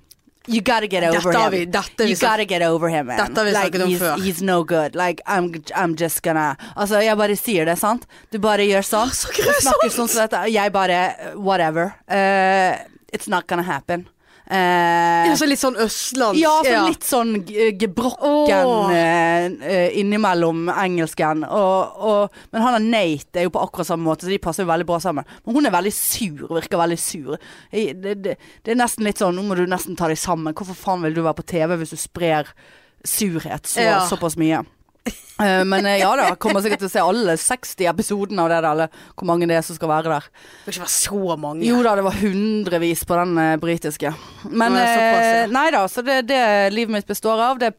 Speaker 1: you gotta get over
Speaker 2: Dette har
Speaker 1: him.
Speaker 2: vi- dette har vi
Speaker 1: you
Speaker 2: snakket-
Speaker 1: gotta get over him, man.
Speaker 2: Dette har vi
Speaker 1: like,
Speaker 2: snakket om
Speaker 1: he's,
Speaker 2: før.
Speaker 1: He's no good. Like, I'm, I'm just gonna... Altså, jeg bare sier det, sant? Du bare gjør sånn.
Speaker 2: så
Speaker 1: Du Snakker sånn som dette. og Jeg bare, whatever. Eh, it's not gonna happen. Eh,
Speaker 2: Ja, så litt sånn østlandsk.
Speaker 1: ja, så litt sånn eh, gebrokken
Speaker 2: Åh.
Speaker 1: eh, eh, innimellom engelsken. Og, og, men han og Nate er jo på akkurat samme måte, så de passer jo veldig bra sammen. Men hun er veldig sur, virker veldig sur. I- Det, det, det er nesten litt sånn, nå må du nesten ta deg sammen. Hvorfor faen vil du være på TV hvis du sprer surhet så,
Speaker 2: Ja.
Speaker 1: såpass mye? Eh, Men eh, ja da, kommer sikkert til å se alle 60 episodene av det der, eller hvor mange det er som skal være der.
Speaker 2: Det må ikke være så mange.
Speaker 1: Jo da, det var hundrevis på den eh, britiske. Men
Speaker 2: Å, ja, såpass, ja.
Speaker 1: eh, nei da, så det er det livet mitt består av. Det er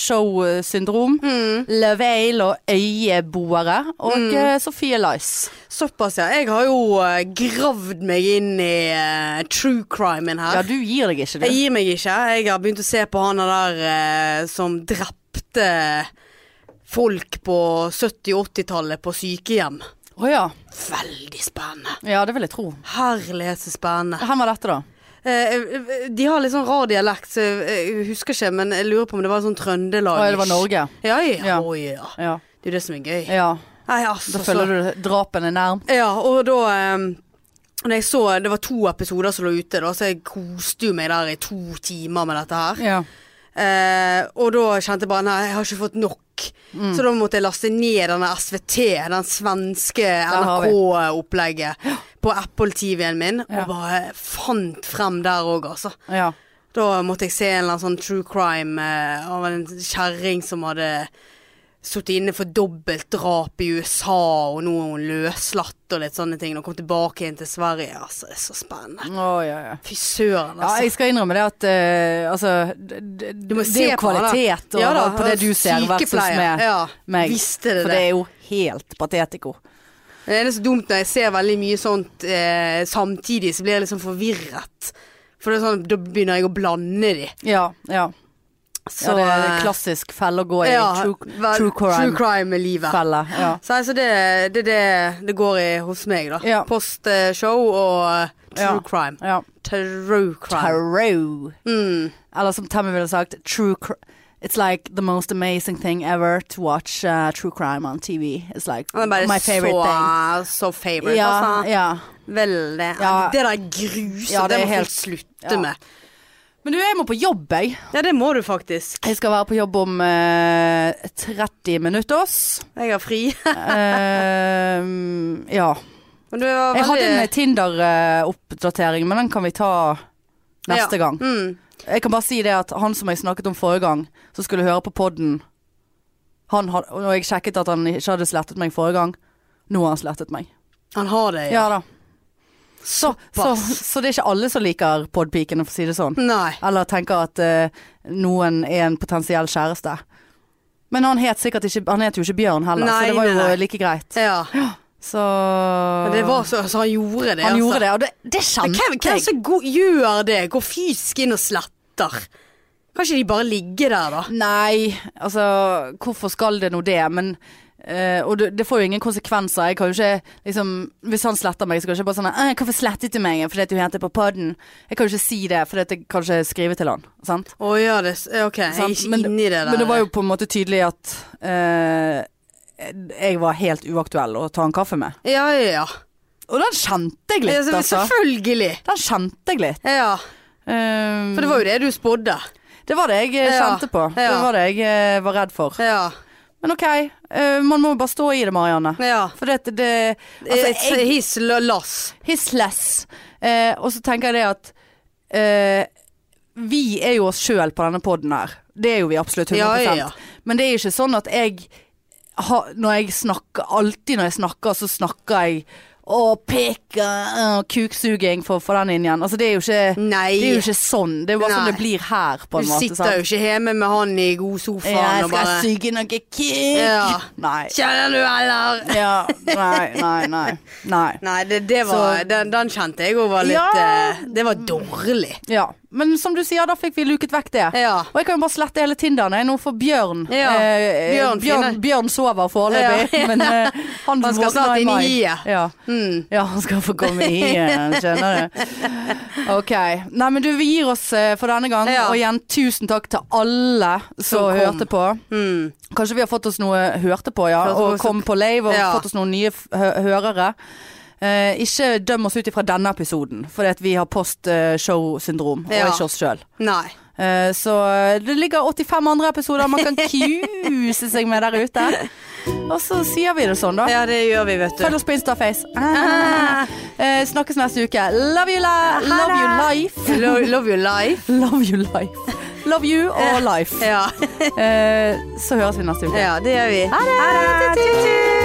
Speaker 1: post-show-syndrom.
Speaker 2: Mm.
Speaker 1: Leveil og øyeboere. Og eh, Sophie Lice.
Speaker 2: Såpass, ja. Jeg har jo eh, gravd meg inn i eh, true crimen her.
Speaker 1: Ja, du gir deg ikke,
Speaker 2: Jeg
Speaker 1: du.
Speaker 2: gir meg ikke. Jeg har begynt å se på han der eh, som drepte folk på 70-80-tallet på sykehjem.
Speaker 1: Å ja.
Speaker 2: Veldig spennende.
Speaker 1: Ja, det vil jeg tro.
Speaker 2: Herlighet så spennende.
Speaker 1: Hvem var dette, da?
Speaker 2: Eh, eh, de har litt sånn rar dialekt, så jeg jeg husker ikke, men jeg lurer på om det var sånn Trøndelag.
Speaker 1: Å ja, det var Norge.
Speaker 2: Ja, ja.
Speaker 1: Ja.
Speaker 2: Å, ja.
Speaker 1: Ja.
Speaker 2: Det er jo det som er gøy.
Speaker 1: ja.
Speaker 2: Nei, altså,
Speaker 1: Da føler du drapen er nærm.
Speaker 2: Ja, og da eh, når jeg så, Det var to episoder som lå ute, da, så jeg koste jo meg der i to timer med dette her.
Speaker 1: Ja.
Speaker 2: Eh, og da kjente jeg bare nei, jeg har ikke fått nok.
Speaker 1: Mm.
Speaker 2: Så da måtte jeg laste ned denne SVT, den svenske
Speaker 1: har vi.
Speaker 2: NRK-opplegget, på Apple-TV-en min,
Speaker 1: Ja.
Speaker 2: og bare fant frem der òg, altså.
Speaker 1: ja.
Speaker 2: Da måtte jeg se en eller annen sånn true crime eh, av en kjerring som hadde sittet inne for dobbeltdrap i USA, og nå er hun løslatt og litt sånne ting. Og kom tilbake igjen til Sverige. Altså, det er så spennende.
Speaker 1: Å, ja, ja.
Speaker 2: Fy søren,
Speaker 1: Ja,
Speaker 2: altså.
Speaker 1: jeg skal innrømme det at eh, altså d- d-
Speaker 2: Du må
Speaker 1: Det
Speaker 2: se
Speaker 1: er jo
Speaker 2: på det.
Speaker 1: kvalitet og, på det du ser versus
Speaker 2: sykepleier.
Speaker 1: med
Speaker 2: ja,
Speaker 1: meg.
Speaker 2: Visste det
Speaker 1: For det
Speaker 2: det.
Speaker 1: er jo helt patetico.
Speaker 2: Det er så dumt når jeg ser veldig mye sånt eh, samtidig, så blir jeg liksom forvirret. For det er sånn, da begynner jeg å blande de.
Speaker 1: Ja, ja.
Speaker 2: Så
Speaker 1: ja det er
Speaker 2: eh,
Speaker 1: en klassisk felle å gå i.
Speaker 2: ja,
Speaker 1: true,
Speaker 2: vel,
Speaker 1: true
Speaker 2: True
Speaker 1: crime-felle.
Speaker 2: crime er livet.
Speaker 1: Ja.
Speaker 2: Så altså det er det, det, det går i hos meg, da.
Speaker 1: Ja.
Speaker 2: Postshow og eh, true
Speaker 1: Ja.
Speaker 2: crime.
Speaker 1: ja.
Speaker 2: True crime.
Speaker 1: Tarot.
Speaker 2: Mm.
Speaker 1: Eller som Tammy ville sagt, true crime. It's like the most amazing thing ever to watch uh, true crime on TV. It's like
Speaker 2: Han er bare
Speaker 1: my favorite
Speaker 2: så,
Speaker 1: thing.
Speaker 2: så favorite.
Speaker 1: Ja,
Speaker 2: Altså,
Speaker 1: ja.
Speaker 2: veldig.
Speaker 1: Ja.
Speaker 2: Det der er grusomt.
Speaker 1: Ja, det
Speaker 2: det,
Speaker 1: er
Speaker 2: må
Speaker 1: helt-
Speaker 2: folk slutte
Speaker 1: ja.
Speaker 2: med.
Speaker 1: Men du, jeg må på jobb, jeg.
Speaker 2: Ja, det må du faktisk.
Speaker 1: Jeg skal være på jobb om eh, 30 minutter. oss.
Speaker 2: Jeg har fri.
Speaker 1: Eh, ja.
Speaker 2: Men du var
Speaker 1: Jeg
Speaker 2: veldig-
Speaker 1: hadde en Tinder-oppdatering, men den kan vi ta neste
Speaker 2: Ja.
Speaker 1: gang.
Speaker 2: Mm.
Speaker 1: Jeg kan bare si det at han som jeg snakket om forrige gang, som skulle høre på podden han had, Og jeg sjekket at han ikke hadde slettet meg forrige gang. Nå har han slettet meg.
Speaker 2: Han har det,
Speaker 1: Ja da. Så, så,
Speaker 2: Såpass.
Speaker 1: så det er ikke alle som liker podpiken, for å si det sånn.
Speaker 2: Nei.
Speaker 1: Eller tenker at eh, noen er en potensiell kjæreste. Men han het sikkert ikke Han het jo ikke Bjørn heller, så
Speaker 2: Nei,
Speaker 1: det var
Speaker 2: nei,
Speaker 1: jo
Speaker 2: nei.
Speaker 1: like greit.
Speaker 2: Ja.
Speaker 1: Så
Speaker 2: Men Det var så, så han gjorde det,
Speaker 1: Han
Speaker 2: altså.
Speaker 1: gjorde det, og det, det
Speaker 2: Men
Speaker 1: kjente
Speaker 2: Hvem, hvem
Speaker 1: jeg.
Speaker 2: som go- gjør det? Går fysisk inn og sletter? Kan ikke de bare ligge der, da?
Speaker 1: Nei, altså hvorfor skal det nå det? Men eh, og det, det får jo ingen konsekvenser. Jeg kan jo ikke liksom Hvis han sletter meg, så kan jeg ikke bare sånn «Eh, 'Hvorfor slettet du meg fordi at du heter på podden?' Jeg kan jo ikke si det, for jeg kan ikke skrive til han. Sant?
Speaker 2: Å ja, det, s- ok, jeg er
Speaker 1: Sant?
Speaker 2: ikke
Speaker 1: Men-
Speaker 2: inni det der.
Speaker 1: Men det var jo på en måte tydelig at eh, jeg var helt uaktuell å ta en kaffe med.
Speaker 2: Ja, ja, ja.
Speaker 1: Og den kjente jeg
Speaker 2: Ja,
Speaker 1: litt,
Speaker 2: så-
Speaker 1: altså.
Speaker 2: Selvfølgelig.
Speaker 1: Den kjente jeg litt.
Speaker 2: Ja,
Speaker 1: Eh,
Speaker 2: for det var jo det du spådde.
Speaker 1: det var det jeg eh,
Speaker 2: Ja,
Speaker 1: kjente på. Det
Speaker 2: ja.
Speaker 1: var det jeg eh, var redd for.
Speaker 2: Ja.
Speaker 1: Men ok, eh, man må bare stå i det, Marianne.
Speaker 2: ja.
Speaker 1: For det, det
Speaker 2: Altså,
Speaker 1: altså, jeg,
Speaker 2: His la- lass.
Speaker 1: His less. Eh, og så tenker jeg det at eh, Vi er jo oss sjøl på denne poden her. Det er jo vi absolutt 100
Speaker 2: Ja, ja, ja.
Speaker 1: Men det er ikke sånn at jeg ha, når jeg snakker, alltid når jeg snakker, så snakker jeg å, pikk og kuksuging for, for den inn igjen. Altså, det er jo ikke, det er
Speaker 2: Nei.
Speaker 1: jo ikke sånn. Det er jo bare
Speaker 2: Nei.
Speaker 1: sånn det blir her, på
Speaker 2: Du
Speaker 1: en måte.
Speaker 2: sitter jo ikke hjemme med han i god sofaen
Speaker 1: Jeg
Speaker 2: og
Speaker 1: skal
Speaker 2: bare
Speaker 1: suge noe kuk.
Speaker 2: Ja.
Speaker 1: Nei.
Speaker 2: Kjenner du, eller?
Speaker 1: Ja. Nei, nei, nei. nei.
Speaker 2: Nei, det, det var,
Speaker 1: Så-
Speaker 2: den, den kjente jeg òg var litt
Speaker 1: Ja.
Speaker 2: eh, Det var dårlig.
Speaker 1: Ja, men som du sier, da fikk vi luket vekk det.
Speaker 2: Ja.
Speaker 1: Og jeg kan jo bare slette hele Tinderen jeg, nå for Bjørn.
Speaker 2: Ja,
Speaker 1: Eh,
Speaker 2: Bjørn
Speaker 1: Bjørn, Bjørn,
Speaker 2: finner-
Speaker 1: sover foreløpig, men eh, han,
Speaker 2: Han skal
Speaker 1: våkner
Speaker 2: snart inn i
Speaker 1: mai.
Speaker 2: hiet.
Speaker 1: Ja.
Speaker 2: Mm.
Speaker 1: ja, han skal få komme i hiet, skjønner du. Ok. Nei, men du, vi gir oss eh, for denne gang.
Speaker 2: Ja.
Speaker 1: Og igjen, tusen takk til alle som
Speaker 2: Som kom.
Speaker 1: hørte på.
Speaker 2: Mm.
Speaker 1: Kanskje vi har fått oss noe hørte på, ja.
Speaker 2: Hørte på,
Speaker 1: Og
Speaker 2: så-
Speaker 1: kom på lave og
Speaker 2: Ja.
Speaker 1: fått oss noen nye f- hø hørere. Eh, ikke døm oss ut ifra denne episoden, fordi at vi har post-show-syndrom, og
Speaker 2: Ja.
Speaker 1: ikke oss sjøl.
Speaker 2: Nei.
Speaker 1: Eh, Så det ligger 85 andre episoder man kan kuse seg med der ute. Og så sier vi det sånn, da.
Speaker 2: Ja, det gjør vi, vet du.
Speaker 1: Følg oss på Instaface. Ah. Eh, Snakkes neste uke. Love you, la love you life.
Speaker 2: Lo- Love your life.
Speaker 1: Love you life. Love you og life.
Speaker 2: Ja,
Speaker 1: Eh, Så høres vi neste uke.
Speaker 2: ja det gjør vi.
Speaker 1: Ha det! Tut, tut.